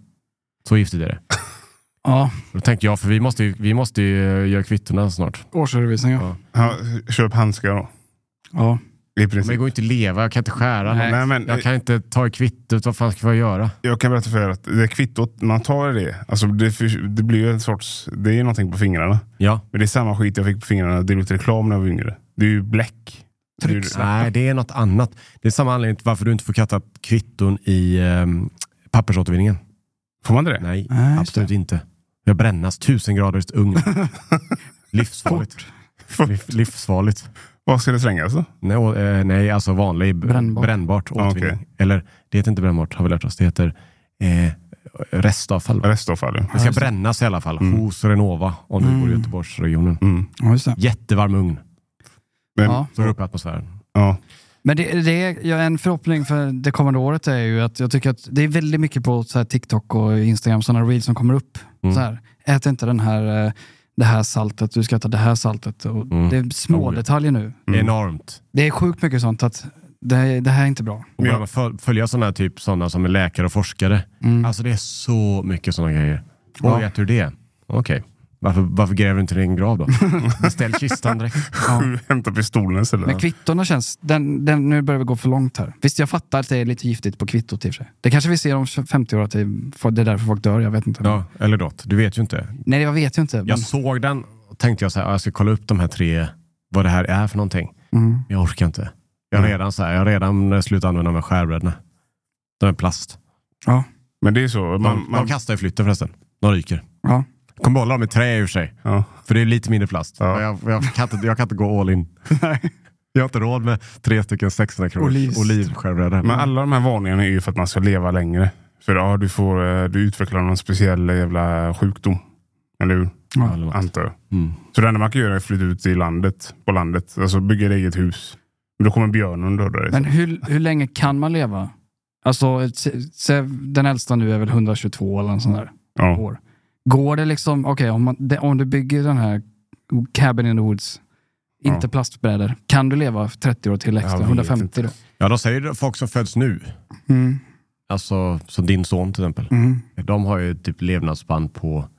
Speaker 1: Så giftigt är det.
Speaker 2: Ja,
Speaker 1: Då tänkte jag, för vi måste ju, vi måste ju eh, göra kvittona snart.
Speaker 2: årsredovisning ja.
Speaker 3: Ja, köp handskar då.
Speaker 2: ja.
Speaker 3: I
Speaker 1: Men det
Speaker 3: princip.
Speaker 1: går inte att leva, jag kan inte skära.
Speaker 2: Nej.
Speaker 1: någon.
Speaker 3: Nej, men,
Speaker 1: Jag kan inte ta i kvittot, vad fan ska jag göra?
Speaker 3: Jag kan berätta för er att det kvittot, man tar det. Alltså det, för- det blir ju en sorts, det är ju någonting på fingrarna.
Speaker 1: Ja.
Speaker 3: Men det är samma skit jag fick på fingrarna när jag delade ut reklam när jag var yngre. Det är ju bläck. Det är ju-
Speaker 1: Nej, det är något annat. Det är samma anledning till varför du inte får kasta kvitton i eh, pappersåtervinningen.
Speaker 3: Får man inte det?
Speaker 1: Nej,
Speaker 2: Nej, just
Speaker 1: absolut inte. Jag brännas tusen grader i ugn. Livsfarligt. Liv, livsfarligt.
Speaker 3: Vad ska det slängas då?
Speaker 1: Nej, och, eh, nej, alltså vanlig b-
Speaker 2: Brännbart.
Speaker 1: brännbart återvinning.
Speaker 3: okej.
Speaker 1: Eller, det heter inte brännbart har vi lärt oss. Det heter eh, restavfall. va?
Speaker 3: Restavfall. ja.
Speaker 1: Det ska brännas i alla fall hos Renova om du bor i Göteborgsregionen.
Speaker 3: Mm.
Speaker 2: ja, just det.
Speaker 1: Jättevarm ugn.
Speaker 3: Men,
Speaker 2: Ja.
Speaker 3: ja.
Speaker 1: Så går det upp i atmosfären.
Speaker 2: Men det, det är, ja, en förhoppning för det kommande året är ju att jag tycker att det är väldigt mycket på så här TikTok och Instagram, sådana reels som kommer upp.
Speaker 1: Mm.
Speaker 2: Så här, ät inte den här, eh, det här saltet, du
Speaker 1: Mm. Oh,
Speaker 2: ska äta det här saltet. Och Det är små detaljer nu.
Speaker 1: Enormt.
Speaker 2: Det är sjukt mycket sånt att det, det här är inte bra.
Speaker 1: Och börjar man föl- följa sådana typ, såna som är läkare och forskare. Alltså det är så mycket sådana grejer. Och
Speaker 2: Ja.
Speaker 1: vet du det? Okej. Varför, varför gräver du inte din grav då? Beställ kistan direkt.
Speaker 3: Sju hämtar pistolen istället.
Speaker 2: Men kvittorna känns... Den, den, nu börjar vi gå för långt här. Visst, jag fattar att det är lite giftigt på kvittot i och för sig. Det kanske vi ser om 50 år, att det är det är därför folk dör. Jag vet inte.
Speaker 1: Ja, eller något. Du vet ju inte.
Speaker 2: Nej, jag vet ju inte. Men,
Speaker 1: Jag såg den och tänkte jag så här, "Ah, jag ska kolla upp de här tre, vad det här är för någonting.
Speaker 2: mm.
Speaker 1: Jag orkar inte. Jag har redan, så här, jag har redan eh, slutat använda de här skärbrädorna. De är plast.
Speaker 3: Men det är så.
Speaker 1: De,
Speaker 3: Man, man,
Speaker 1: de kastar i flytten förresten. De ryker.
Speaker 2: Ja.
Speaker 1: Kom behålla dem i trä i och för sig.
Speaker 3: ja.
Speaker 1: För det är lite mindre plast.
Speaker 3: Ja.
Speaker 1: Jag, jag, kan inte, jag kan inte gå all in. Jag har inte råd med tre stycken 600 kronor
Speaker 2: Olivs.
Speaker 1: olivskärbrädor.
Speaker 3: Men alla de här varningarna är ju för att man ska leva längre. För ja, du, får, eh, du utvecklar någon speciell jävla sjukdom. Eller hur?
Speaker 1: Ja, eller något.
Speaker 3: Antar jag.
Speaker 1: Mm.
Speaker 3: Så det enda man kan göra är att flytta ut i landet, på landet. Alltså bygga ett eget hus. Men då kommer björnen och dödar dig.
Speaker 2: men hur, hur länge kan man leva? Alltså, ett- se- se, den äldsta nu är väl 122 eller en sån där.
Speaker 3: ja.
Speaker 2: år. Går det liksom, okej om, man- det- om du bygger den här Cabin in the Woods, inte
Speaker 3: Ja.
Speaker 2: plastbrädor, kan du leva 30 år till
Speaker 3: Jag
Speaker 2: extra?
Speaker 3: vet
Speaker 2: 150
Speaker 3: inte.
Speaker 2: då?
Speaker 1: Ja, de säger det, folk som föds nu.
Speaker 2: Mm.
Speaker 1: Alltså, som din son till exempel.
Speaker 3: Mm.
Speaker 1: De har ju typ levnadsspann på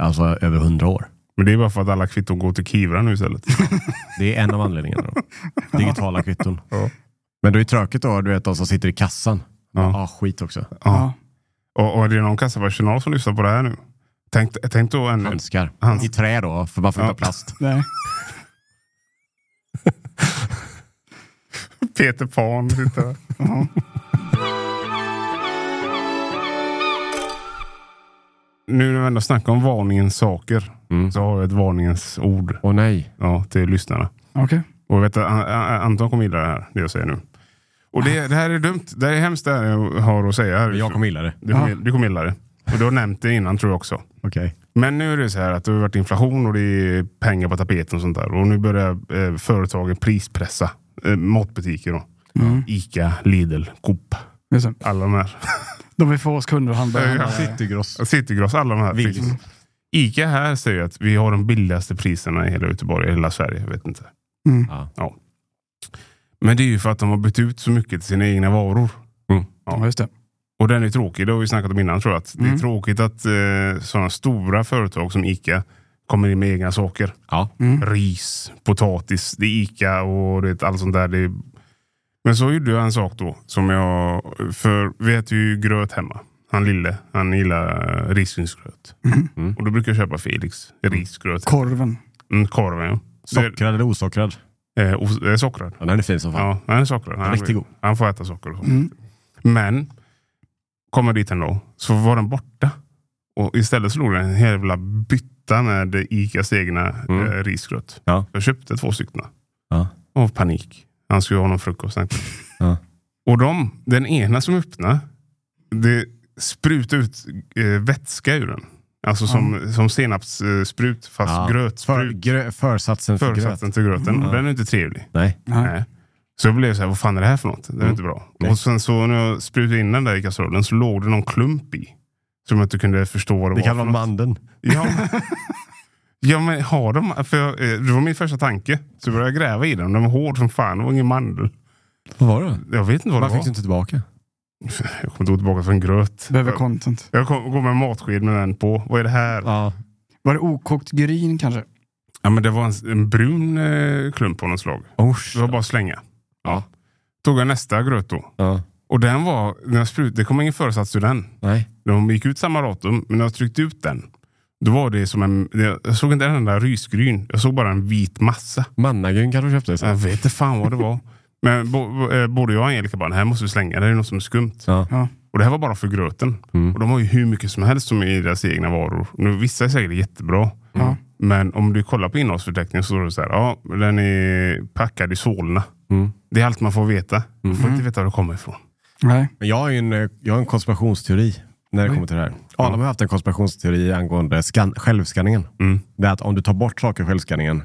Speaker 1: alltså, över 100 år.
Speaker 3: Men det är bara för att alla kvitton går till Kivra nu istället.
Speaker 1: Det är en av anledningarna. Då. Digitala kvitton.
Speaker 3: Ja.
Speaker 1: Men då är det tråkigt då, du vet de som sitter i kassan. Ja,
Speaker 3: Ja.
Speaker 1: ah, skit också.
Speaker 3: Ja. Och, och är det någon kassapersonal som lyssnar på det här nu? Tänk, tänk då en...
Speaker 1: Handskar.
Speaker 3: Handskar.
Speaker 1: I trä då, för man får inte
Speaker 3: Ja.
Speaker 1: ha plast.
Speaker 2: Nej.
Speaker 3: Peter Pan. sitter där. nu när vi ändå snackar om varningens saker
Speaker 1: Mm.
Speaker 3: så har jag ett varningens ord
Speaker 1: Åh nej.
Speaker 3: ja, till lyssnarna.
Speaker 2: Okej.
Speaker 3: Och jag vet att An- An- Anton kommer gilla det här, det jag säger nu. Och det, det här är dumt. Det här är hemskt det här jag har att säga. Här.
Speaker 1: Jag kommer gilla det.
Speaker 3: Du, kommer, du kommer gilla det. Och du har nämnt det innan tror jag också.
Speaker 1: Okej.
Speaker 3: Men nu är det så här att det har varit inflation och det är pengar på tapeten och sånt där. Och nu börjar eh, företagen prispressa eh, matbutiker. Då. Ica, Lidl, Coop.
Speaker 2: Just det.
Speaker 3: Alla de här.
Speaker 2: De vill få oss kunder att handla.
Speaker 3: Ja,
Speaker 1: Citygross.
Speaker 3: Citygross, alla de här.
Speaker 1: Willys.
Speaker 3: priserna. Ica här säger att vi har de billigaste priserna i hela Göteborg, i hela Sverige. Jag vet inte.
Speaker 2: Mm.
Speaker 1: Ja.
Speaker 3: Ja. Men det är ju för att de har bytt ut så mycket till sina egna varor. Mm.
Speaker 2: Ja, just det.
Speaker 3: Och den är tråkig, det har vi snackat om innan tror jag. Att Det
Speaker 2: Mm.
Speaker 3: är tråkigt att eh, sådana stora företag som Ica kommer in med egna saker. Mm.
Speaker 1: Ja. Mm.
Speaker 3: ris, potatis, det är Ica och du vet, allt sånt där. Det är... Men så gjorde jag en sak då som jag, för vi äter ju gröt hemma. Han lille, han gillar eh, risgrynsgröt.
Speaker 1: Mm.
Speaker 3: Och då brukar jag köpa Felix risgröt.
Speaker 2: Korven.
Speaker 3: Mm, korven ja.
Speaker 1: Sockrad eller osockrad?
Speaker 3: Det är- eh, os- eh, sockrad.
Speaker 1: Ja, den är fin som fan.
Speaker 3: Ja, han är sockrad. Han,
Speaker 1: Riktigt god. Mm.
Speaker 3: han får äta socker och sånt. Men, kommer dit ändå, så var den borta. Och istället slog den en jävla bytta med Icas egna
Speaker 1: Mm.
Speaker 3: eh, risgröt.
Speaker 1: Ja.
Speaker 3: Jag köpte två stycken.
Speaker 1: Ja.
Speaker 3: Av panik. Han skulle ha någon frukost. tänkte jag.
Speaker 1: Ja.
Speaker 3: Och de, den ena som öppnade, det sprutade ut eh, vätska ur den. Alltså som, som senapssprut fast
Speaker 1: Ja. För,
Speaker 3: grötsprut.
Speaker 1: grö, försatsen för gröt.
Speaker 3: Försatsen till gröten.
Speaker 1: Mm.
Speaker 3: Och Den är inte trevlig.
Speaker 1: Nej.
Speaker 2: Ja.
Speaker 3: Nej. Så jag blev så här, vad fan är det här för något? Det är
Speaker 1: Mm.
Speaker 3: inte bra.
Speaker 1: Nej.
Speaker 3: Och sen så när jag sprutade in den där i kastrullen så låg det någon klump i. Som jag inte kunde förstå vad det,
Speaker 1: Det
Speaker 3: var.
Speaker 1: kan
Speaker 3: för
Speaker 1: vara mandeln.
Speaker 3: något. Ja. ja men har de, för jag, eh, det var min första tanke. Så började jag gräva i den. Den var hård som fan. Det var ingen mandel.
Speaker 1: Vad var det?
Speaker 3: Jag vet inte vad
Speaker 1: Varför fick
Speaker 3: det var.
Speaker 1: du inte tillbaka?
Speaker 3: Jag kommer inte gå tillbaka för en gröt.
Speaker 2: Behöver
Speaker 3: Jag,
Speaker 2: content.
Speaker 3: jag kom, går med en matsked med den på. Vad är det här? Ja,
Speaker 2: Var det okokt gryn kanske?
Speaker 3: men det var en, en brun eh, klump av något slag.
Speaker 1: Usch.
Speaker 3: Det var bara att slänga.
Speaker 1: Ja.
Speaker 3: Tog jag nästa gröt då.
Speaker 1: Ja.
Speaker 3: Och den var, när jag sprut, det kom ingen föresats ur den.
Speaker 1: Nej.
Speaker 3: De gick ut samma datum, men när jag tryckte ut den, då var det som en... Jag såg inte en enda rysgryn. Jag såg bara en vit massa.
Speaker 1: Mannagryn kan du köpte
Speaker 3: Så jag
Speaker 1: sen.
Speaker 3: vet inte fan vad det var. Men bo, bo- eh, både jag och Angelica bara, det här måste vi slänga. Det är något som är skumt.
Speaker 1: Ja.
Speaker 3: Och det här var bara för gröten.
Speaker 2: Mm.
Speaker 3: Och de har ju hur mycket som helst som är i deras egna varor. Nu, vissa är säkert jättebra.
Speaker 2: Ja.
Speaker 3: Men om du kollar på innehållsförteckningen så står det så här, ja, den är packad i Solna.
Speaker 1: Mm.
Speaker 3: Det är allt man får veta. Man
Speaker 2: Mm.
Speaker 3: får inte veta var det kommer ifrån.
Speaker 2: Nej.
Speaker 1: Men jag har ju en, eh, jag har en konspirationsteori när det
Speaker 2: Oj.
Speaker 1: kommer till det här. Adam har haft en konspirationsteori angående skan, självskanningen.
Speaker 3: Mm.
Speaker 1: Det är att om du tar bort saker i självskanningen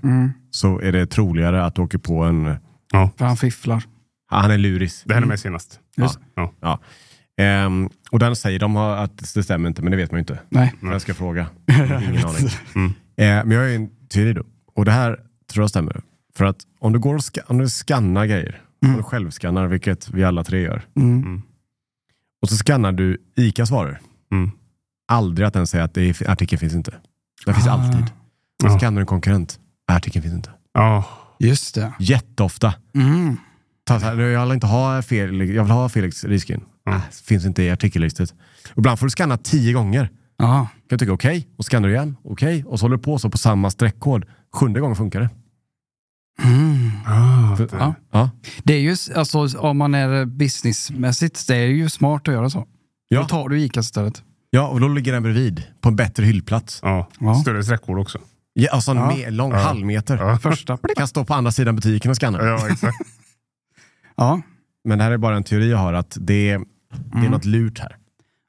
Speaker 1: så är det troligare att du åker på en... ah,
Speaker 2: För han fifflar.
Speaker 1: Han är luris.
Speaker 3: Det här är med senast.
Speaker 2: Mm. Just.
Speaker 3: Ja.
Speaker 1: Ja. Ehm, och den säger de har att det stämmer inte, men det vet man ju inte.
Speaker 2: Nej.
Speaker 1: Jag ska fråga. Ingen aning. Eh, men jag har ju en teori då. Och det här tror jag stämmer. För att om du går och ska, om du skannar grejer Man självskannar, vilket vi alla tre gör.
Speaker 3: Mm.
Speaker 1: Och så skannar du ICAs varor.
Speaker 3: Mm.
Speaker 1: Aldrig att den säger att det är, artikeln finns inte. Den finns
Speaker 2: Ah.
Speaker 1: alltid.
Speaker 3: Ja.
Speaker 1: Så skannar du en konkurrent. Artikeln finns inte.
Speaker 3: Ja.
Speaker 2: Just det. Jätteofta. Mm.
Speaker 1: Ta så här, Jag vill inte ha Felix, jag vill ha Felix risken.
Speaker 3: Mm.
Speaker 1: finns inte i artikellistet. Ibland får du skanna tio gånger.
Speaker 2: Ja.
Speaker 1: kan jag tycka okej, och skannar du igen, okej, och så håller du på så på samma streckkod. Sjunde gången funkar det.
Speaker 2: Mm.
Speaker 3: Ah, det-
Speaker 2: Ja.
Speaker 1: Ja.
Speaker 2: Det är ju, s- alltså, om man är businessmässigt, det är ju smart att göra så.
Speaker 1: Ja.
Speaker 2: Då tar du Ica istället.
Speaker 1: ja, och då ligger den bredvid på en bättre hyllplats.
Speaker 3: ja.
Speaker 2: Ja.
Speaker 3: Större sträckor också.
Speaker 1: Ja, alltså en
Speaker 2: Ja.
Speaker 1: mer lång halvmeter.
Speaker 3: Ja.
Speaker 2: Första.
Speaker 1: Kan stå på andra sidan butiken och skanna.
Speaker 3: Ja, exakt.
Speaker 2: Ja.
Speaker 1: Men det här är bara en teori jag har, att det är, det är något lurt här.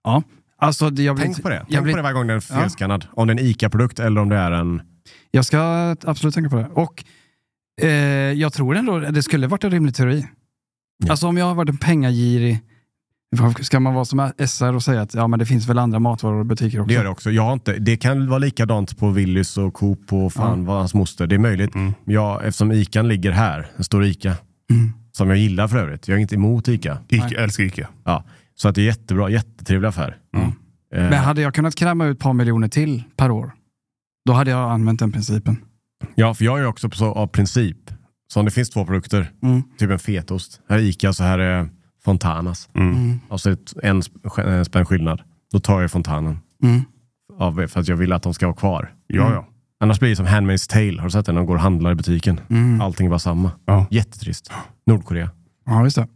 Speaker 2: ja. Alltså, det- Mm. jag blir,
Speaker 1: Tänk på det.
Speaker 2: Jag,
Speaker 1: Tänk
Speaker 2: blir,
Speaker 1: på det varje gång den är
Speaker 2: Ja.
Speaker 1: felskannad. Om det är en ICA-produkt eller om det är en...
Speaker 2: jag ska absolut tänka på det. Och eh, jag tror ändå det skulle varit en rimlig teori.
Speaker 1: Ja.
Speaker 2: Alltså om jag har varit en pengagirig, ska man vara som SR och säga att ja, men det finns väl andra matvaror och butiker också?
Speaker 1: Det gör det också. Jag har inte, det kan vara likadant på Willys och Coop och fan vad hans moster. Det är möjligt.
Speaker 3: Mm.
Speaker 1: Men Jag, eftersom ICAn ligger här, en stor ICA,
Speaker 2: Mm.
Speaker 1: som jag gillar för övrigt. Jag är inte emot ICA.
Speaker 3: Ica, älskar Ica.
Speaker 1: Ja, så att det är jättebra, jättetrevlig affär.
Speaker 3: Mm.
Speaker 1: Eh,
Speaker 2: Men hade jag kunnat kräma ut ett par miljoner till per år, då hade jag använt den principen.
Speaker 1: Ja, för jag är också så av princip. Så om det finns två produkter,
Speaker 2: Mm.
Speaker 1: typ en fetost, här är Ica så här är Fontanas.
Speaker 3: Mm.
Speaker 1: Och så ett, en sp- eh, spänn skillnad. Då tar jag Fontanen.
Speaker 2: Mm.
Speaker 1: Av, för att jag vill att de ska vara kvar. Mm.
Speaker 3: Ja, ja.
Speaker 1: Annars blir det som Handmaid's Tale. Har du sett den? De går och handlar i butiken.
Speaker 2: Mm.
Speaker 1: Allting är bara samma.
Speaker 3: Ja.
Speaker 1: Jättetrist. Nordkorea.
Speaker 2: Ja, just det.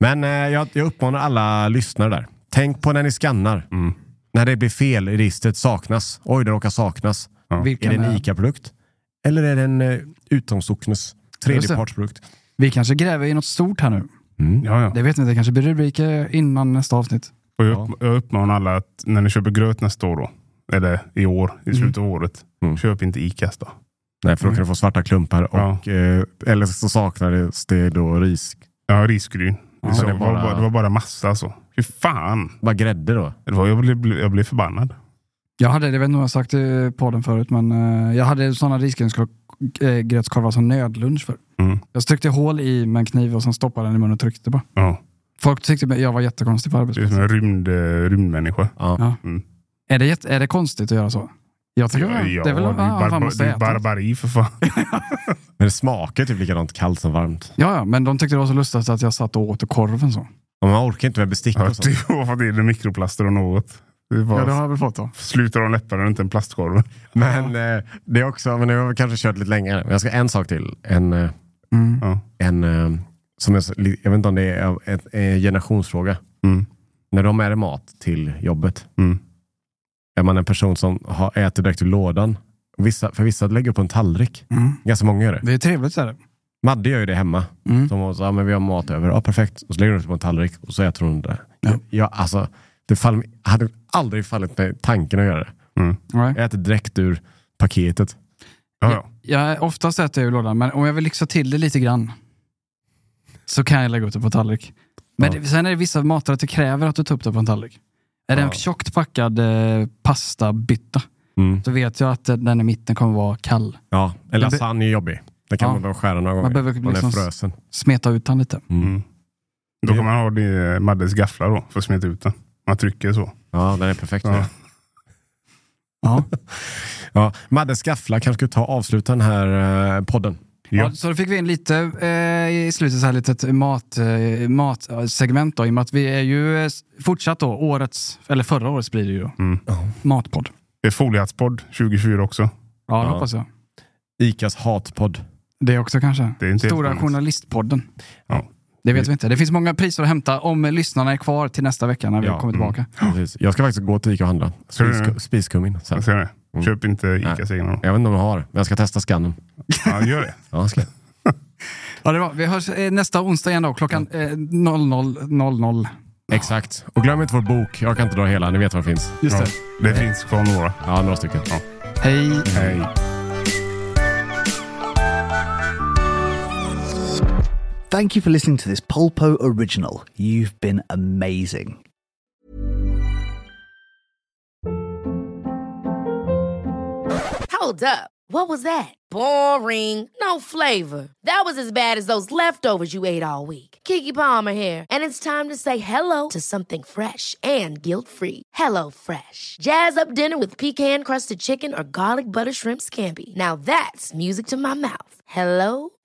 Speaker 1: Men eh, jag, jag uppmanar alla lyssnare där. Tänk på när ni skannar.
Speaker 3: Mm.
Speaker 1: När det blir fel i registret. Saknas. Oj, det råkar saknas. Är
Speaker 2: Vilken
Speaker 1: det en
Speaker 2: är-
Speaker 1: ICA-produkt? Eller är det en eh, utomsocknes tredjepartsprodukt?
Speaker 2: Vi kanske gräver i något stort här nu.
Speaker 1: Mm.
Speaker 3: ja, ja.
Speaker 2: Det vet vi inte, det kanske blir rubriker innan nästa avsnitt.
Speaker 3: Och jag, upp, jag uppmanar alla att när ni köper gröt nästa år, då, eller i år, i slutet av året,
Speaker 1: Mm.
Speaker 3: köp inte Icas då.
Speaker 1: Nej, för då kan du få svarta klumpar. Och, eh, eller så saknades det då ris.
Speaker 3: Ja, risgryn.
Speaker 1: Ja,
Speaker 3: det,
Speaker 1: det
Speaker 3: det,
Speaker 1: är
Speaker 3: var
Speaker 1: bara-
Speaker 3: bara, det var bara massa alltså. Fy fan.
Speaker 1: Bara grädde då.
Speaker 3: Det var, jag, blev, jag blev förbannad.
Speaker 2: Jag hade, det vet inte om jag har sagt i podden förut, men eh, jag hade sådana risgrynsgrötskorvar som nödlunch för.
Speaker 3: Mm.
Speaker 2: Jag tryckte hål i med en kniv och sen stoppade den i munnen och tryckte bara.
Speaker 3: Ja,
Speaker 2: Folk tyckte att jag var jättekonstig på
Speaker 3: det är som
Speaker 2: arbetsplatsen.
Speaker 3: en rymd, eh, rymdmänniska.
Speaker 2: Är det, jätte, är det konstigt att göra så? Jag tycker
Speaker 3: Ja,
Speaker 2: det är väl
Speaker 3: det
Speaker 2: ah,
Speaker 3: är
Speaker 2: man
Speaker 3: barba-
Speaker 2: måste
Speaker 3: det är
Speaker 2: äta.
Speaker 3: barbari för fan.
Speaker 1: Men det smakar typ likadant kallt som varmt.
Speaker 2: Ja, ja, men de tyckte det var så lustigt att jag satt och åt ur korven så.
Speaker 1: Och man orkar inte med bestick
Speaker 3: Ja, typ.
Speaker 1: och sånt.
Speaker 3: det var för att det är mikroplaster och något. Det var,
Speaker 2: Ja, det har jag väl fått då.
Speaker 3: Slutar de läpparna runt en plastkorv.
Speaker 1: Men eh, det är också, men nu har vi kanske kört lite längre. Men jag ska en sak till. En, eh,
Speaker 2: Mm.
Speaker 3: Ja.
Speaker 1: en eh, som jag, jag vet inte om det är av- en, en generationsfråga.
Speaker 3: Mm.
Speaker 1: När de är mat till jobbet,
Speaker 3: Mm.
Speaker 1: är man en person som har, äter direkt ur lådan? Vissa, för vissa lägger upp på en tallrik.
Speaker 2: Mm.
Speaker 1: Ganska många gör det.
Speaker 2: Det är trevligt så är det.
Speaker 1: Madde gör ju det hemma.
Speaker 2: Mm.
Speaker 1: De var så, ja, men vi har mat över. Ja, perfekt. Och så lägger hon det på en tallrik och så äter hon det.
Speaker 2: Ja.
Speaker 1: Jag, alltså, det fall, hade aldrig fallit mig tanken att göra det.
Speaker 2: Right.
Speaker 1: Jag äter direkt ur paketet.
Speaker 3: Ja, ja.
Speaker 2: Jag, oftast äter jag ur lådan, men om jag vill lyxa till det lite grann så kan jag lägga upp det på en tallrik. Men
Speaker 1: Ja.
Speaker 2: det, sen är det vissa maträtter kräver att du tar upp det på en tallrik. Är det en
Speaker 1: Ja.
Speaker 2: tjockt packad eh, pastabytta
Speaker 1: Mm.
Speaker 2: så vet jag att eh, den i mitten kommer vara kall.
Speaker 1: Ja, en
Speaker 2: Men be-
Speaker 1: lasagne är jobbig. Det kan
Speaker 2: Ja.
Speaker 1: man behöva skära några gånger.
Speaker 2: Man behöver
Speaker 1: Man är
Speaker 2: liksom-
Speaker 1: frösen.
Speaker 2: Smeta ut den lite.
Speaker 3: Mm. Då kan man ha det, Maddes gafflar då, för att smeta ut den. Man trycker så.
Speaker 1: Ja, den är perfekt.
Speaker 3: Ja.
Speaker 2: Ja.
Speaker 1: Ja. Madde Skaffla kanske skulle ta och avsluta den här eh, podden.
Speaker 3: Ja.
Speaker 2: Ja, så då fick vi in lite eh, i slutet, så här litet mat, eh, matsegment då, i och med att vi är ju eh, fortsatt då, årets, eller förra årets blir det ju då,
Speaker 3: Mm.
Speaker 2: matpodd.
Speaker 3: Det är Foliehattspodd 2024 också.
Speaker 2: Ja, det
Speaker 1: Ja.
Speaker 2: hoppas jag.
Speaker 1: Icas hatpodd.
Speaker 2: Det också kanske.
Speaker 3: Det är inte helt
Speaker 2: Stora
Speaker 3: omöjligt.
Speaker 2: Journalistpodden.
Speaker 3: Ja.
Speaker 2: Det vet vi inte. Det finns många priser att hämta om lyssnarna är kvar till nästa vecka när vi
Speaker 1: Ja,
Speaker 2: kommer
Speaker 3: mm.
Speaker 2: tillbaka.
Speaker 1: Precis. Jag ska faktiskt gå till Ica och handla.
Speaker 3: Ska du
Speaker 2: Mm.
Speaker 1: Spisku-
Speaker 3: nu?
Speaker 1: Spiskummin. sen.
Speaker 3: Jag säger det. Köp inte Icas egna då.
Speaker 1: Jag vet inte om de har, men jag ska testa skannen.
Speaker 3: Ja, gör det.
Speaker 1: Ja, jag ska. jag.
Speaker 2: Ja, det var. Vi hörs eh, nästa onsdag igen då, klockan eh, 00.00.
Speaker 1: Exakt. Och glöm inte vår bok. Jag kan inte dra hela, ni vet var den finns.
Speaker 2: Just
Speaker 3: Ja.
Speaker 2: det.
Speaker 3: Det finns kvar några.
Speaker 1: Ja, några stycken.
Speaker 2: Hej!
Speaker 3: Hej.
Speaker 8: Thank you for listening to this Polpo original. You've been amazing.
Speaker 5: Hold up. What was that? Boring. No flavor. That was as bad as those leftovers you ate all week. Kiki Palmer here, and it's time to say hello to something fresh and guilt-free. Hello Fresh. Jazz up dinner with pecan-crusted chicken or garlic butter shrimp scampi. Now that's music to my mouth. Hello